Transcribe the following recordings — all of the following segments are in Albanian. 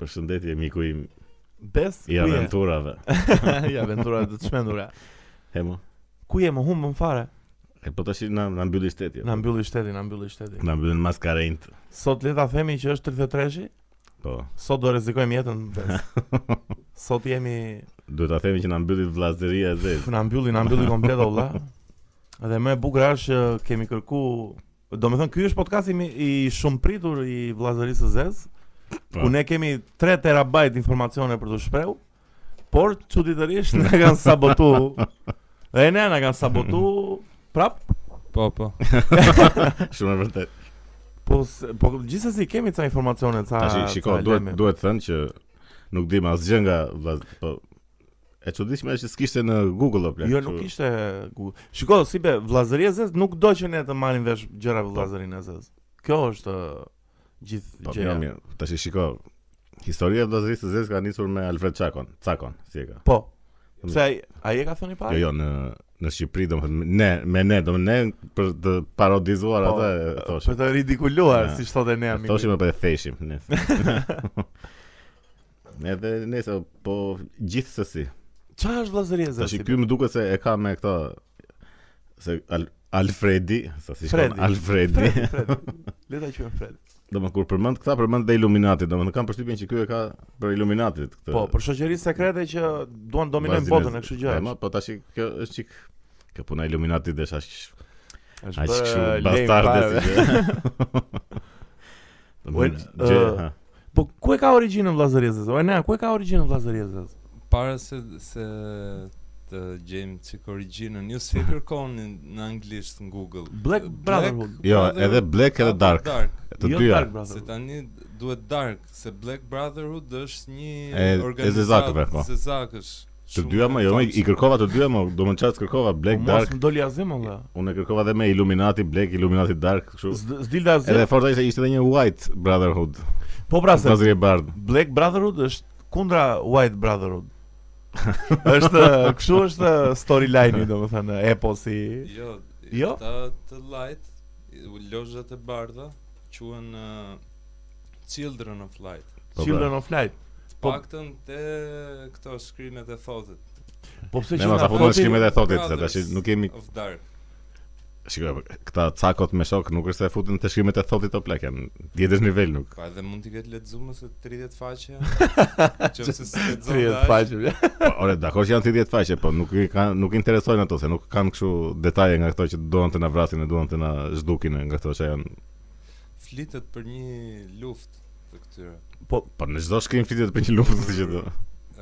përshëndetje miku im Bes, i ku je? aventurave. ja aventura të çmendura. Hemo. Ku je më humbën fare? E po tash na na mbylli shteti. Na mbylli shteti, na mbylli shteti. na mbyllin maskarent. Sot le ta themi që është 33-shi, Po. sot do rrezikojmë jetën. Bes. Sot jemi Duhet ta themi që na mbylli vllazëria e zezë. na mbylli, na mbylli komplet o vlla. Dhe më e bukur është që kemi kërku Do me thënë, ky është podcasti mi- i shumë pritur i vlazërisë së zezë Po. Ku ne kemi 3 terabajt informacione për të shpreu Por, çuditërisht në kanë sabotu Dhe ne në kanë sabotu Prap Po, po. Shumë e vërtet. Po, s- po gjithsesi kemi ca informacione ca. Tash shiko, ca duhet lajme. duhet të thënë që nuk dim asgjë nga vllaz, po e çuditshme është që s'kishte në Google apo. Jo, nuk ishte gu. Shiko, si be vllazëria e zez nuk do që ne të marrim vesh gjëra për vllazërinë e zez. Kjo është ë, gjithë Po gjëja. mirë, mirë. Tash shiko. Historia e vllazërisë së zezë ka nisur me Alfred Çakon, Çakon, si e ka. Po. Mirë. Se ai ai e ka thënë para? Jo, jo, në në Shqipëri domethënë ne me ne domethënë ne për të parodizuar Po, atë e Për thoshim. të ridikuluar, Ja. siç thotë ne E amiku. Thoshim apo e theshim ne. Edhe nëse po gjithsesi. Çfarë është vllazëria e zez? Tash si ky be? më duket se e ka me këta se Al Alfredi, sa si shkon Fredi. Alfredi. Fred, Fred. Le ta quajmë Fred. Domethënë kur përmend këta përmend dhe Illuminati, domethënë kam përshtypjen që ky e ka për Illuminatit këtë. Po, për shoqëri sekrete që duan dominojnë vllazërinë botën e kështu gjë. E, ma, Po tash kjo është çik kjo puna e Illuminatit dhe është aq Është Ai bërë kështu lejmë bastarde fare. si gjë. Uen, Domethënë, gjë, ë, ha. Po ku e ka origjinën vllazëria e zez? O ne, ku e ka origjinën vllazëria e zez? Para se se të gjejmë çik origjinën, ju si e kërkoni në anglisht në Google? Black Brotherhood. Jo, edhe Black edhe apo Dark, të Jo dyja. Dark Brother. Se tani duhet Dark, se Black Brotherhood është një E- e organizatë zezakëve, po. Zezakësh. Të shumë dyja më, jo, famshme. i kërkova të dyja më, do më qatë kërkova Black Po, Dark, Mos më doli azim olla. unë e kërkova dhe me Illuminati Black, Illuminati Dark, kështu. Z- S'dilda Edhe azim. e forta ishte ishte edhe një White Brotherhood, Po pra se pasi e bardh. Black Brotherhood është kundra White Brotherhood. është kështu është storyline-i domethënë eposi. Jo, Jo? ta të light, i- u lozhat e bardha quhen uh, Children of Light. Po, Children of Light. Të Po- paktën te këto shkrimet e thotit. Po pse Ne që mos nga apo në foti- shkrimet e thotit, se Brothers tash nuk kemi, of Dark. shikoj, këta cakot me shok nuk është se futin të shkrimet e thotit o plek, janë tjetër nivel nuk. Ka edhe mund t'i ketë lexuar se 30 faqe. Që se se 30 faqe. Po, ore, dakor që janë 30 faqe, po nuk i kanë nuk i interesojnë ato se nuk kanë kështu detaje nga këto që duan të na vrasin e duan të na zhdukin e nga këto që janë. Flitet për një luftë të këtyre. Po në çdo shkrim flitet për një luftë si që do.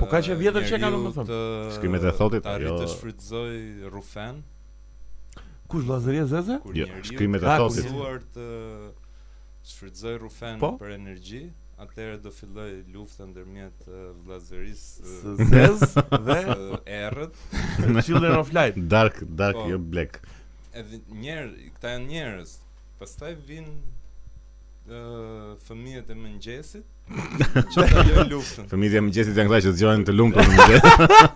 Po ka që vjetër që kanë, Uh, Njeriu domethënë. të- Shkrimet e thotit, Të arrit jo. të shfrytëzoj rufen Kush vllazëria zeze? kur Jo, njeriu shkrimet e ka thotit. mësuar të shfrytëzoj rufen Po? për energji, atëherë do filloj lufta ndërmjet eh, vllazërisë S- Zez dhe eh, errët. Children of Light. Dark, dark, Po. jo black. Edhe njerë, këta janë njerëz. Pastaj vin ë fëmijët e mëngjesit që ta lënë luftën. Fëmijët e mëngjesit janë këta që zgjohen të lumtur në mëngjes.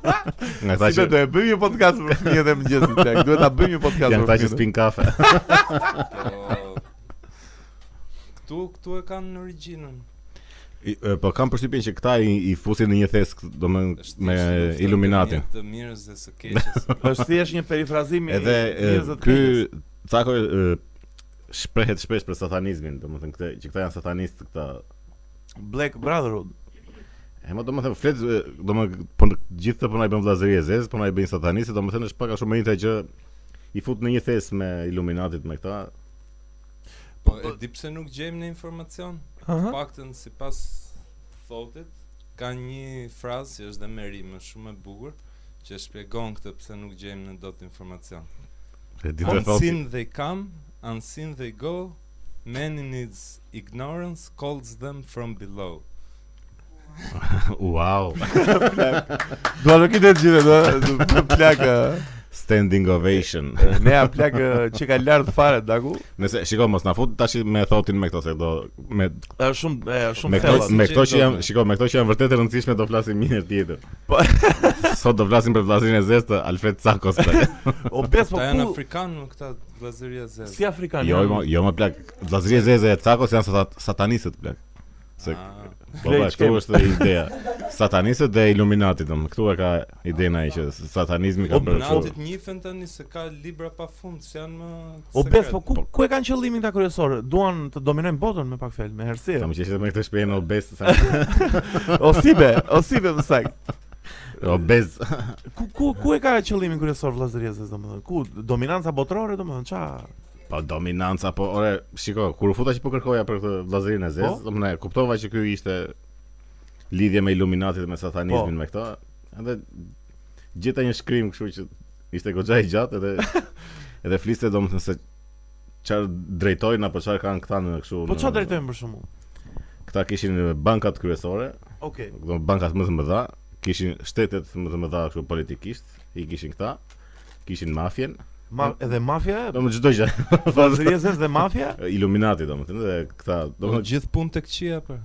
Nga këta Si që do e bëjmë një podcast për fëmijët e mëngjesit, plak. Duhet ta bëjmë një podcast janë këta që për fëmijët. spin kafe. Po këtu këtu e kanë në origjinën. I- e, Po kam përshtypjen që këta i, i fusin në një thesk, domethënë Është me thjesht lufta ndërmjet Illuminatin. Të mirës dhe së keqes. Është thjesht një perifrazim i Edhe e, njerëzve të ky keqës. Cako e, shprehet shpesh për satanizmin, domethënë këtë që këta janë satanistë këta. Black Brotherhood. E më domethënë flet e, domethënë po në- gjithë të punoj bën vllazëri e zez, punoj bën satanistë, domethënë është pak a shumë e njëjta që i fut në një thes me Illuminatit me këta. Po e di pse nuk gjejmë në informacion? Aha. Paktën sipas thotit ka një frazë që është dhe me rimë shumë e bukur që shpjegon këtë pse nuk gjejmë në dot informacion. E di të thotë. Unseen they come, unseen they go, man in his ignorance calls them from below. Wow. Do të kitë të gjithë, do të plak. Standing ovation. Ne a plak që ka lart fare daku. Nëse shiko mos na fut tash me thotin me këto se do me Është shumë e, me shumë këto thella. si me që këto që do janë me. shiko me këto që janë vërtet e rëndësishme do flasim një herë tjetër. Po. Sot do flasim për vllazërinë e zezë të Alfred Sakos. plak. O bes po Ta janë ku afrikanë në këta vllazëria zezë. si afrikan. jo jo, janë? jo më plak vllazëria e zezë e Sakos janë sata- satanistët plak. Se Ah, baba Flej, këtu ç'kem. është ideja. Satanistët dhe Illuminatit, domethënë këtu e ka idena ai që satanizmi ka O, bërë Natit kështu. njifen tani se ka libra pa fund, se janë më O bes, po sekret. ku ku e kanë qëllimin këta kryesorë? Duan të dominojnë botën me pak fjalë, me Sa herësi. më qeshë me këtë shpejnë obez, sa O sibe, o sibe më sakt. obez. Ku ku ku e ka qëllimin kryesor vllazëriesës domethënë? Ku dominanca botërore domethënë ça? Po dominanca, po ore, shiko, kur u futa që po kërkoja për këtë vllazërinë e Zez, Po? domethënë kuptova që ky ishte lidhje me Illuminatit dhe me satanizmin Po. me këto, edhe gjeta një shkrim kështu që ishte goxha i gjatë edhe edhe fliste domethënë se çfarë drejtojnë apo çfarë kanë këta në kështu. Po në- çfarë drejtojmë për shembull? Këta kishin bankat kryesore, Okej. do bankat më të mëdha, kishin shtetet më të mëdha kështu politikisht, i kishin këta, kishin mafjen, Ma edhe mafia, do më çdo gjë. Po, vllazëriesës dhe mafia? Illuminati domethënë dhe këta Do domethënë gjithë punë tek qia për.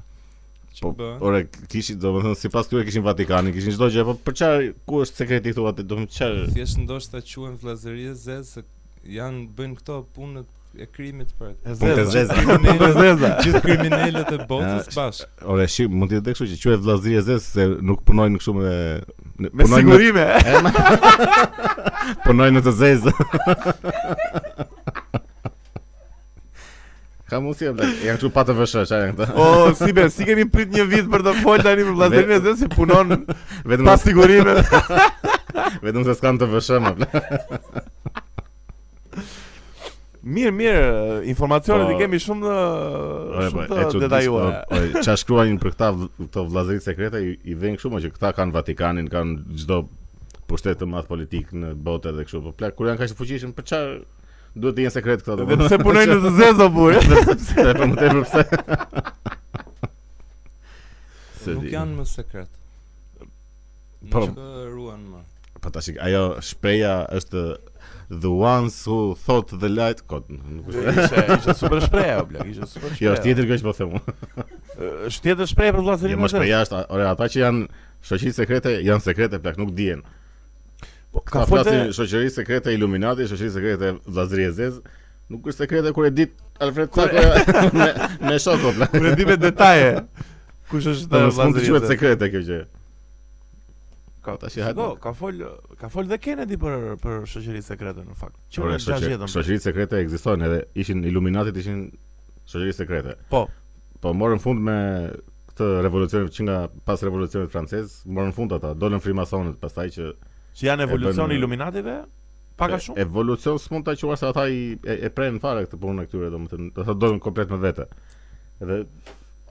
Po, Ç'po bën? ore, kishin domethënë sipas tyre kishin Vatikanin, kishin çdo gjë, po për çfarë ku është sekreti këtu atë domethënë çfarë Thjesht ndoshta quhen vllazëria zez se janë bëjnë këto punët e krimit për. E Punë të zeza. Punë e zeza. Gjithë kriminalët e botës Ah, bashkë. Ore, shi, mund të jetë kështu që quhet vllazëri e zezë se nuk punojnë kështu me në- Me punojnë sigurime. punojnë në të zezë. Ka mundsi e blek, janë kështu pa të vëshë, çfarë janë këta? O si be, si kemi prit një vit për të folë tani për vllazërinë e zezë si punon Vetëm pas sigurime. vetëm se s'kan të vëshë më blek. Mirë, mirë, informacionet Po, i kemi shumë të Ore, po, shumë e të çuditshme, detajuara. po, e, Çfarë shkruajnë për këta vl- këto vllazëri sekrete i, i vënë kështu më që këta kanë Vatikanin, kanë çdo pushtet të madh politik në botë edhe kështu. Po plak kur janë kaq të fuqishëm, për çfarë duhet të jenë sekret këta? Dhe pse punojnë në të zezë burë? pse po më tepër pse? Se Nuk di. janë më sekret. Po. Nuk e ruan më. Po tash ajo shpreha është the ones who thought the light kot. Nuk është. Ishte ishte super shprehje, bla, ishte super shprehje. Jo, është tjetër gjë që po them unë. Është tjetër shprehje për vllazërinë. Jo, më e zezë. shpreha është, ore, ata që janë shoqëri sekrete, janë sekrete plak, nuk dihen. Po, Ka Ka flasim folë shoqëri sekrete Illuminati, shoqëri sekrete Vllazëri e Zez. Nuk është sekrete kur e dit Alfred Kur- Sako me me shokot. la. kur e di me detaje. Kush është Do Po, mos mund të vllazëria e quhet zezë. sekrete kjo gjë. Ka Tash i shiko, hajde. ka fol ka fol dhe Kennedy për për shoqërinë sekrete në fakt. Që Ore, në shoqë- 60-ën. shoqëritë sekrete ekzistojnë edhe ishin Illuminatit ishin shoqëri sekrete. Po. Po morën fund me këtë revolucion që nga pas revolucionit francez, morën fund ata, dolën frimasonët pastaj që Që janë E bën- evolucioni i Illuminative? Pak a e- shumë? evolucion s'mund ta quash se ata i e, e prenë fare këtë punën e këtyre, domethënë, ata dolën komplet me vete. Edhe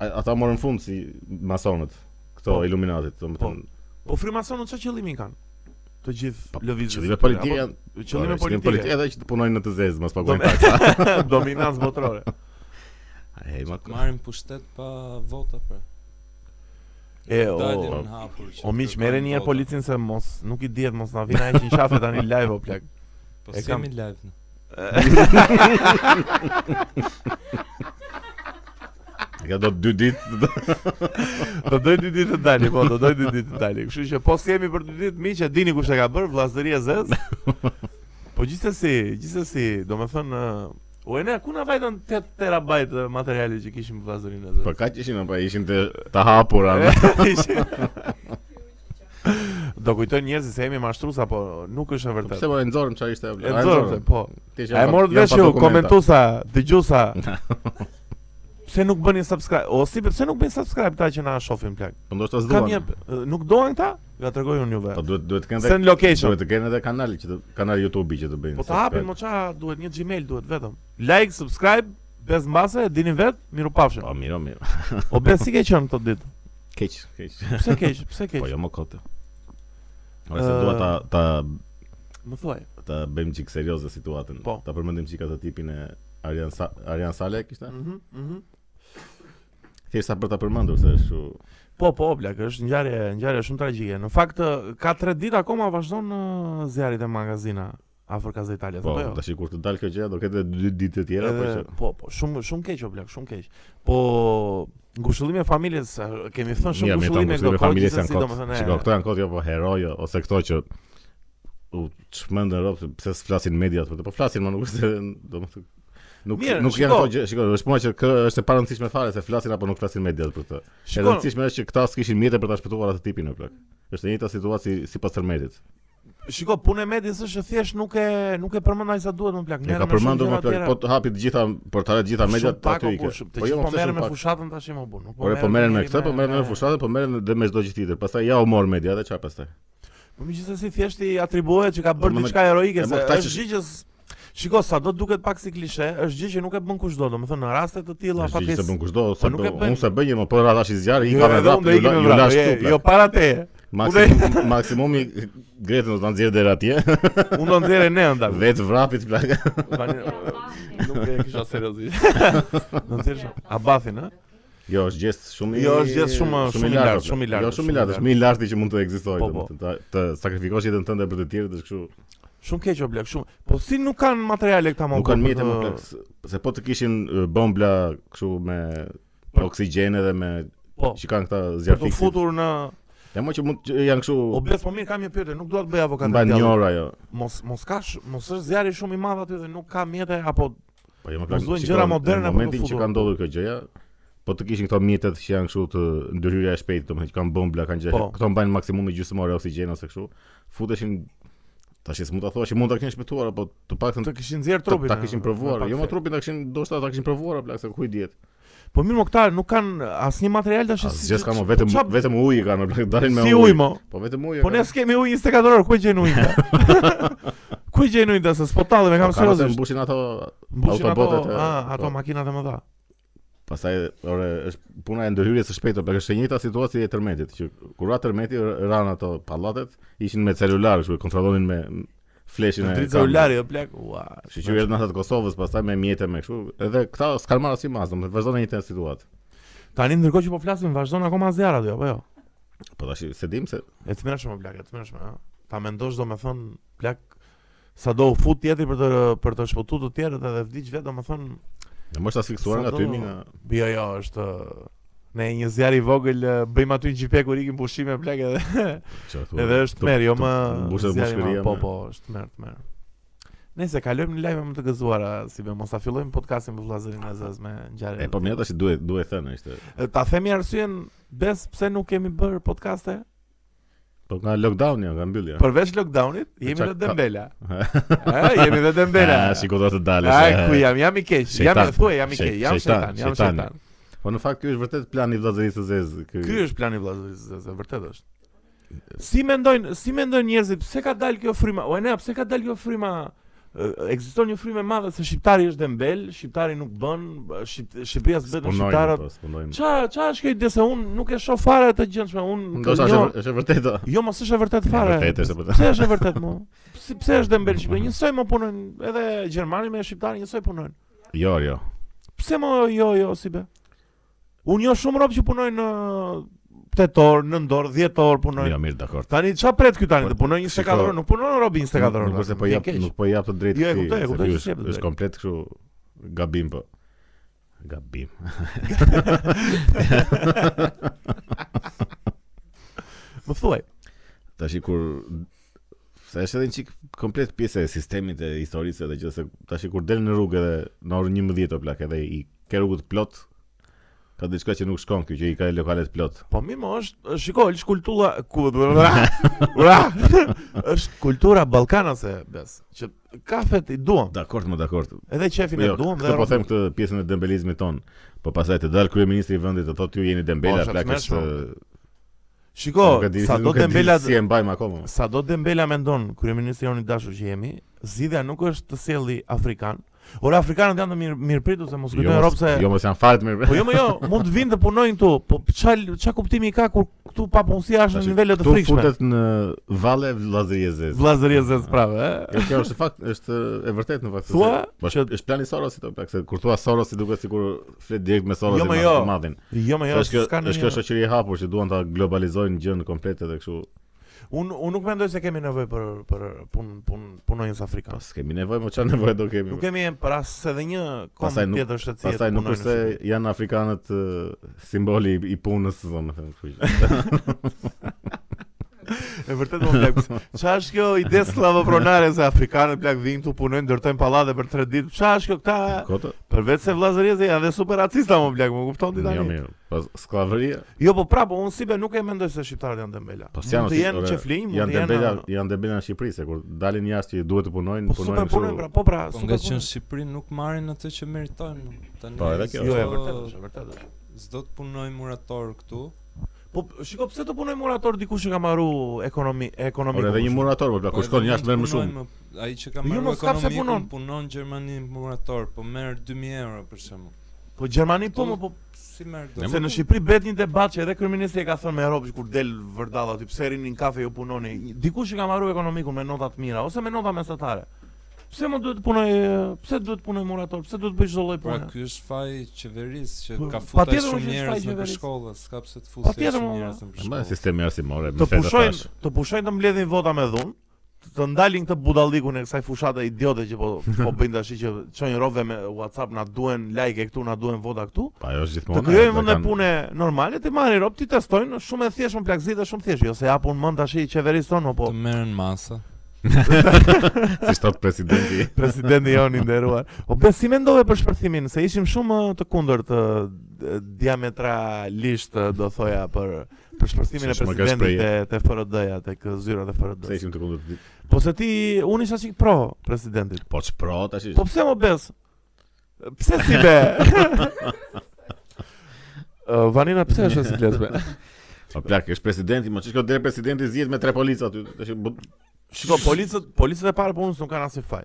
a- ata morën fund si masonët, këto Po. Illuminatit, domethënë. Po frimasonët çfarë qëllimi kanë? Të gjithë lëvizjes. Po, Qëllime politike janë, Po, Apo, Qëllime ore, politike. edhe që të punojnë në të zezë, mos paguajnë Dome- taksa. Dominancë botërore. Ej, ma Marrin pushtet pa vota për. E Dalin o. në hapur. që O miq, kërkojnë merreni një herë vota. policin se mos nuk i dihet mos na vjen ai që shafe tani live o plak. Po E e kam- kemi live. në. ka do dy ditë Do doj dy ditë të dali, po do doj dy ditë të dali. Kështu që po s'kemi për dy ditë miq, e dini kush e ka bër vllazëria zez. Po gjithsesi, gjithsesi, domethënë ë, o e ne ku na vajtën 8 terabajt e materiali që kishim vllazërinë e Po zez. kaq ishin apo ishin të të hapura. ne? Do kujtojnë njerëzit se jemi mashtrues apo nuk është e Po Pse vërtetë. po e nxorëm çfarë ishte apo? E nxorëm, po. Ti që A e jam morët pa- jam vesh pa ju, dokumenta. komentusa, dëgjusa. Pse nuk bëni subscribe? O si pse nuk bëni subscribe ta që na shohin plak? Po ndoshta Kam s'duan. një nuk doan këta? Ja tregoj unë juve. Po duhet duhet të kenë Se edhe- në location. duhet të kenë edhe kanal që të kanal YouTube-i që të bëjnë. Po të hapin subscribe. mo ça duhet një Gmail duhet vetëm. Like, subscribe, bez mbase, e dini vet, miru pafshim. Po mirë, mirë. O bez si ke qenë këtë ditë? Keq, keq. Pse keq? Pse keq? Po jo më kot. Ora se Ë, dua ta ta Më thuaj. ta bëjmë çik serioze situatën. Po. Ta përmendim çik atë tipin e Arian Sa Arian Sale kishte. Mhm, mhm. Thjesht sa për ta përmendur se është kështu. Po po, blak, është ngjarje, ngjarje shumë tragjike. Në fakt ë, ka 3 ditë akoma vazhdon ë, zjarrit e magazina afër Kaza Italia, Po, apo jo? tash kur të dal kjo gjë do ketë edhe dy ditë të tjera, po Edhe, që po, po, shumë shumë keq o blak, shumë keq. Po ngushëllimi e familjes, a, kemi thënë po, shumë Mirë, mirë, ta ngushëllime ngushëllime këto e familjes kohë, janë gjithsesi, kot. domethënë, e- Shiko, këto janë kot jo po herojo ose këto që u çmendën rrobë se pse s'flasin mediat për të, po flasin më nuk është se domethënë Nuk Mirë, nuk janë shiko. ato gjë, shikoj, është puna që kë është e parancishme fare se flasin apo nuk flasin mediat për këtë. E Shikon, rëndësishme është që këta s'kishin mjete për ta shpëtuar atë tipin në plak. Është e njëjta situatë si- sipas tërmetit. shiko, punë e medis është thjesht nuk e nuk e përmendaj sa duhet më plak. Ne ka Merrem me shumë përmendur gjëra më plak, tjera. po të hapi të gjitha portalet të gjitha Shumë mediat pak, aty o, i ke. po, shumë- Të Po jo, gjithë po pse shumë merren me pak? fushatën tash më bën. Ore, po merren me këtë, po merren me fushatë, po merren edhe me çdo gjë tjetër. Pastaj ja u mor mediat e çfarë pastaj. Po megjithëse thjesht i atribuohet që ka bërë Po, më- diçka heroike, e, se mo, këta është që- gjë që s- Shiko, sa do duket pak si klishe, është gjë që nuk e bën kushdo, domethënë në raste të tilla Është gjë se fatkeqësisht. bën kushdo, sa Po nuk e bën. bën. Unë sa bëj më po radhash i zjarri, i Jo, ka me edhe vrap, unë do ju ikim la- me ju vrap, lash jo, këtu. Jo plak. para teje. Maksimum- Maksimumi gretën do ta nxjerr deri atje. Unë do nxjerrë ne nda. Vetë vrapit plak. Tani nuk e kisha seriozisht. Do nxjerrë Abathin, ë? Jo, është gest shumë i Jo, është gjest shumë- shumë i lartë, plak. shumë i lartë, Jo, shumë i lartë, është shumë më i larti që mund të ekzistojë, Po, domethënë, ta të sakrifikosh jetën tënde për të tjerët është kështu. Shumë keq o blek, shumë. Po si nuk kanë materiale këta më? Nuk kanë mjete më plak, s- se po të kishin e, bombla kështu me oksigjen edhe me Po. që kanë këta Për të zjarfiksit. futur në Ja më që mund që janë kështu jo. O bes, po mirë kam një pyetje, nuk dua të bëj avokat. mban një orë ajo. Mos mos ka sh- mos është zjarri shumë i madh aty dhe nuk ka mjete apo Po jo më Mos duhen shiko, gjëra Në moderne për të momentin që futur. ka ndodhur kjo gjë, ja, po të kishin këto mjetet që janë kështu të ndërhyrja e shpejtë, domethënë që kanë bombla, kanë gjë. Po. Këto mbajnë maksimumi gjysmore oksigjen ose kështu. Futeshin tash s'mund ta thuash që mund ta kishin shpëtuar apo të paktën të kishin nxjerr Ta- trupin. Ta e, kishin me provuar. pak Jo, ma se. trupin ta kishin, ndoshta ta kishin provuar, plak, se ku i dihet. Po mirë, mo këta nuk kanë asnjë material tash. si- Asgjë s'ka më po vetëm çfarë- vetëm ujë kanë, plak, dalin me Si ujë. ujë mo. Po vetëm ujë. Po ne s'kemi ujë 24 orë, ku e gjen ujin? Ku e gjen ujin ta se spotallim e kam seriozisht. seriozisht. Po, Mbushin ato, Mbushin ato, autobotet e- a, ato po. makinat e mëdha. pastaj ore është puna e ndërhyrjes së shpejtë, plak, është e njëjta situatë e tërmetit, që kur ra tërmeti r- ran ato pallatet, ishin me celular, kështu e kontrollonin me fleshin e. Dritë kamerës. ulari o plak. Ua. Kështu që erdhën ata të Kosovës, pastaj me mjete me kështu. Edhe këta s'kan marrë si mas, domethënë vazhdon në një situatë. Tani ndërkohë që po flasim vazhdon akoma zjarra aty apo jo? Po tash se dim se E të mërshme o plak, e të mërshme, ha? Ta mendosh do me thënë, plak, sa do u fut tjetri për të, për të shpëtu të tjerët edhe vdiq vetë do me thënë, ne mos asfiksuar Sa nga do- tymi nga jo jo, është, ë, ne një zjarë i vogël, ë, bëjmë aty një gjipe kur ikim pushime, plak, edhe, çfarë thua. edhe është Po, të- merë, jo të- më mbushë zjarri mbushkëria ma- po, me- po, është merë, të merë. Nëse kalojmë në lajme më të gëzuara, si be, mos ta fillojmë podcastin me vllazërin e zez me ngjarje. E po mirë tash duhet duhet thënë ishte. E, Ta themi arsyen bes pse nuk kemi bër podcaste? Po nga lockdown ja, nga mbyllja. Përveç lockdownit, jemi çka dhe ka- dembela. Ë, jemi dhe dembela. Ah, shiko do të dalësh. Ai eh. ku jam, jam i keq. Jam Shejtan. thuaj, jam i Shej- keq. Jam shejtan, shejtan, jam shejtani. shejtan. Po në fakt ky është vërtet plani i vllazërisë së Zezë. Ky Ky është plani i vllazërisë, se vërtet është. Si mendojnë, si mendojnë njerëzit pse ka dalë kjo fryma? O ne, pse ka dalë kjo fryma? Ë, Ekziston një frymë e madhe se shqiptari është dembel, shqiptari nuk bën, Shqip- Shqipëria s'bën punojnë, shqiptarët. po, punojnë. Ça, ça është kjo ide se unë nuk e shoh fare të gjendshme, unë Ndoshta është e vër- është e vërtetë. Jo, mos është e vërtet fare. Vërtet është e vërtetë. Pse është e vërtet mo? Pse pse është dembel Shqipëria? Njësoj mo punojnë, edhe gjermani me shqiptarin njësoj punojnë. Jo, jo. Pse mo jo jo si be? Unë jo shumë rob që punojnë në 8 orë, 9 orë, 10 orë punojnë. Jo, mirë, dakor. Tani ç'a pret ky Po, tani të punoj 24 shiko, orë, nuk punon robi 24 orë. Nuk është se tani, po vjen jap, keq. nuk po jap të drejtë. Jo, e këtij, kuptoj, e se kuptoj ky që është- s'jep të Është drejtë. komplet kështu gabim po. Gabim. Më thuaj. Tashi kur se është edhe një çik komplet pjesë e sistemit e historisë edhe gjithë se tashi kur del në rrugë edhe në orën 11 o plak edhe i ke rrugët plot ka diçka që nuk shkon kjo që i ka lokalet plot. Po mirë mo është, shiko, është kultura ku ura, ura, është kultura ballkanase bes, që kafet i duam, Dakor, më dakor. edhe qefin e Jo, duam këtë dhe po them këtë pjesën e dembelizmit ton. Po pastaj të dal kryeministri i vendit të thotë ju jeni dembela Po, plak është është Shiko, nuk e di- sa do nuk e di Dembela si e mbajmë akoma. Sa do Dembela mendon, kryeministri jonë i dashur që jemi, zgjidhja nuk është të sjelli afrikan. Ora afrikanët janë të mirë mirëpritur se mos Jo, kujtojnë mos- Europë se jo mos janë fare të mirë. Po jo, më jo, mund të vinë të punojnë këtu, po ç'a ç'a kuptimi ka kur këtu papunësia është në Tashi, nivele jo, të këtu frikshme. futet në valle vllazërie zezë. Vllazëria zez prave, ë. Jo, kjo është fakt, është e vërtet në fakt. Thua se- po, që- është është plani i Sorosit apo plak se kur thua Sorosi duket sikur flet direkt me Sorosin Jo, ma- ma jo. të madhin. Jo, më Se jo, Është kjo, s'ka është kjo ndonjë. shoqëri e hapur që duan ta globalizojnë gjën komplet edhe kështu. Unë unë nuk mendoj se kemi nevojë për për pun pun punonjës Po afrikan. s'kemi nevojë, më çfarë nevojë do kemi. Nuk kemi për as edhe një kom Pastaj nuk- tjetër shëtësie. Pastaj nuk është se janë afrikanët ë, simboli i- i punës, domethënë, kështu që. E vërtet më plak. Çfarë është kjo ide slavopronare se afrikanët plak vijnë këtu punojnë, ndërtojnë pallate për 3 ditë. Çfarë është kjo këta? Kota? Përveç se vllazëria janë dhe super racista më plak, më kupton ti Jo tani? mirë. Po sklavëria, Jo, po prapë unë si be nuk e mendoj se shqiptarët janë dembela. po s'janë Mund të si- jenë ore, që flinë, mund janë të debela, jenë. janë debela në Shqipëri se kur dalin jashtë që duhet të punojnë, Po super punojnë, pra, po pra, Po super nga që në punojnë. Shqipëri nuk marrin atë që meritojnë. Tani Po, edhe kjo Jo, është. e vërtet është, e vërtet është. S'do të punoj murator këtu. Po shiko pse të punoj murator dikush që ka marru ekonomi ekonomi. Por edhe një murator, po kur shkon jashtë merr më shumë. punoj me- Ai që ka Jo, marrë mos kap se punon. ekonomikun punon në Gjermani murator, po merr 2000 euro për shembull. Po Gjermani po më po Si merr do? Se në Shqipëri bet një debat që edhe kryeministri e ka thënë me Europë që kur del vërdalla aty pse rinin kafe jo punoni. Dikush që ka marrë ekonomikun me nota të mira ose me nota mesatare. Pse më duhet të punoj, e, pse duhet të punoj murator, pse duhet të bëj çdo lloj Pra pune? ky është faji i qeverisë që Po, ka patjetër futur është faji shumë i njerëz në për qeverisë. shkolla, s'ka pse të fusë Patjetër, shumë mo, njerëz në për Ma shkolla. sistemi arsimore, me Të feta pushojnë, thash. të pushojnë të mbledhin vota me dhunë, të- të ndalin këtë budallikun e kësaj fushate idiote që po po bëjnë tash që çojnë rove me WhatsApp na duhen like e këtu, na duhen vota këtu. Pa, ajo Po, është gjithmonë. Të krijojnë ata vende kanë- pune normale, të marrin rob, ti testojnë, shumë e thjeshtë, më plagëzitë shumë thjesht, jo se japun mend tash i qeverisë tonë, po Të merren masa. Si shtat presidenti. presidenti jonë i nderuar. O be si mendove për shpërthimin se ishim shumë ë, të kundërt ë, d- diametralisht ë, do thoja për për shpërthimin e Shumë ka presidentit te shprehje. te FRD-ja tek ë, zyrat e Se FRD-s. ishim të kundërt. Po se ti unë isha sik pro presidentit. Po çpro tash. Po pse më bes? Pse si be? Ë, Vanina pse është si lesbe? Po plak, është presidenti, më ç'është kjo deri presidenti zgjedh me tre policë aty. Tash bu- Shiko, policët, policët e parë punës nuk kanë asnjë faj.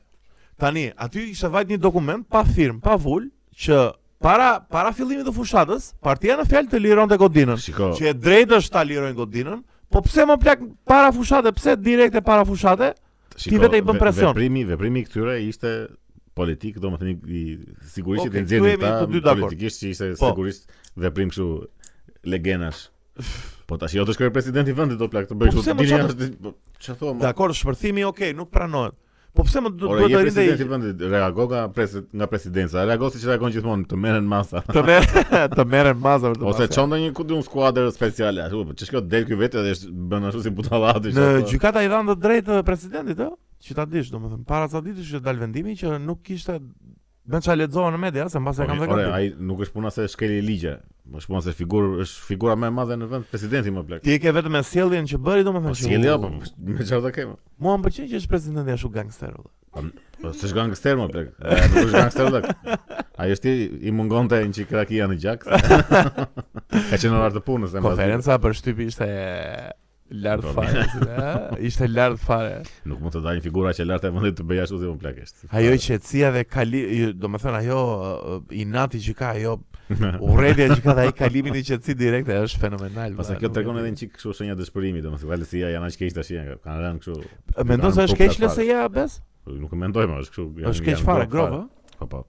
Tani, aty ishte vajt një dokument pa firmë, pa vul, që para para fillimit të fushatës, partia në fjalë të lironte godinën. shiko. Që e drejtë është ta lirojnë godinën, po pse më plak para fushate, pse direkte para fushate? Shiko, vetë i bën ve- presion. Veprimi, veprimi i këtyre ishte politik, domethënë i- i sigurisht okay, i Okej, Po, këtu nxjerrin jemi ta të dy dakord. politikisht që ishte Po. sigurisht veprim kështu legenash. Po tash jo të shkoj presidenti i vendit do plak të bëj Po pse kështu më dini çfarë- jashtë po, ç'a thua më. Dakor, shpërthimi, okay, nuk pranohet. Po pse më du- Ora duhet je të rinde presidenti i i- vendit, reago nga presi- nga presidenca. Reago siç reagon gjithmonë, të merren masa. të merren të merren maza për të Ose pasur. çon ndonjë ku diun skuadër speciale ashtu, po ç'është kjo del ky vetë dhe është bën ashtu si butallati. Në gjykata i dhanë të drejtë presidentit, ë? Që ta dish, domethënë, para ca ditësh që dal vendimi që nuk kishte me çfarë lexova në media, se mbas e kam Ore, vënë. ai nuk është puna se shkeli ligje. Është puna se figurë është figura më e madhe në vend, presidenti më plak. Ti e ke vetëm me sjelljen që bëri Po domethënë që. sjellja u- po me çfarë do kemi? Mua më pëlqen që është presidenti ashtu gangster. valla. Po s'është gangster më plak. E, Nuk është gangster plak. Ai është i, i mungonte një çik rakia në gjak. Ka qenë në orë të punës e mbas- Konferenca për shtypi ishte lart Po, fare, si dhe, ë? ishte lart fare. Nuk mund të dalë një figura që lart e vendit të bëj ashtu si më plak është. Ajo qetësia dhe kali, domethënë ajo ë, inati që ka, ajo urrëtia që ka dhe ai kalimin i qetësi direkte është fenomenal. Pastaj valla, kjo nuk e tregon di. edhe një çik kështu shenja dëshpërimi, domethënë valësia janë aq keq tash janë, kanë rënë kështu. Mendon se Janë është popullë keq fare. lëse ja bes? Nuk e mendoj më, është kështu. janë- Është keq janë fare, grop grobë. ë? Po po.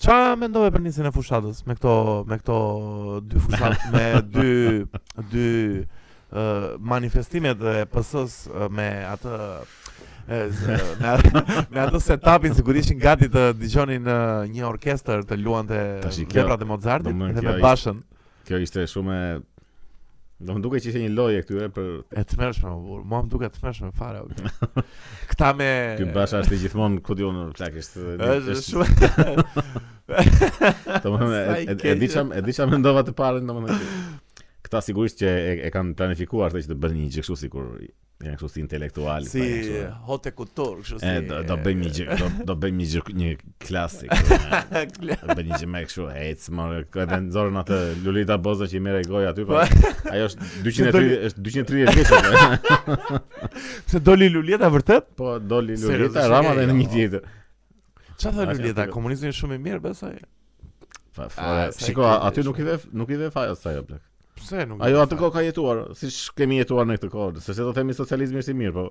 Qa mendove për nisën e fushatës me këto me këto dy fushatë me dy dy uh, manifestimet e PS-s ë, me atë e, z- me, atë- me atë setupin sigurisht ishin gati të dëgjonin ë, një orkestër të luante Tashi kjo- veprat e Mozartit domethënë dhe kjo me ishte- bashën Kjo ishte shumë e Do më duke që ishte një lojë e këtyre për e tmerrshme më burr. Mua më duket tmerrshme fare. o burr. Këta me ky basha është i gjithmonë ku diun plak është. është shumë Domethënë sa e- e- i e keq. di çam e di çam mendova të parën domethënë. që Këta sigurisht që e, e kanë planifikuar këtë që të bënë një gjë kështu sikur janë kështu si intelektual. si hote kutur, kështu si. E, do, do bëjmë një gjë, do, do bëjmë një gjë, një klasik. Do bëjmë një gjë më kështu, ec më edhe nxorën atë Lulita Bozo që i merr goja aty, po ajo është 230 është 230 vjeçë. Se doli Lulieta vërtet? Po doli Seriozisht, Lulita Rama dhe në një jo. tjetër. Çfarë Asha thonë Lulieta? aty- Komunizmi është shumë i mirë besoj. Pa, Ah, fare. sa i Shiko, keq a- aty është. nuk i ve nuk i ve faja sa ajo plak. Pse nuk? Ajo atë kohë ka jetuar, siç kemi jetuar në këtë kohë. Sepse do themi socializmi është i mirë, po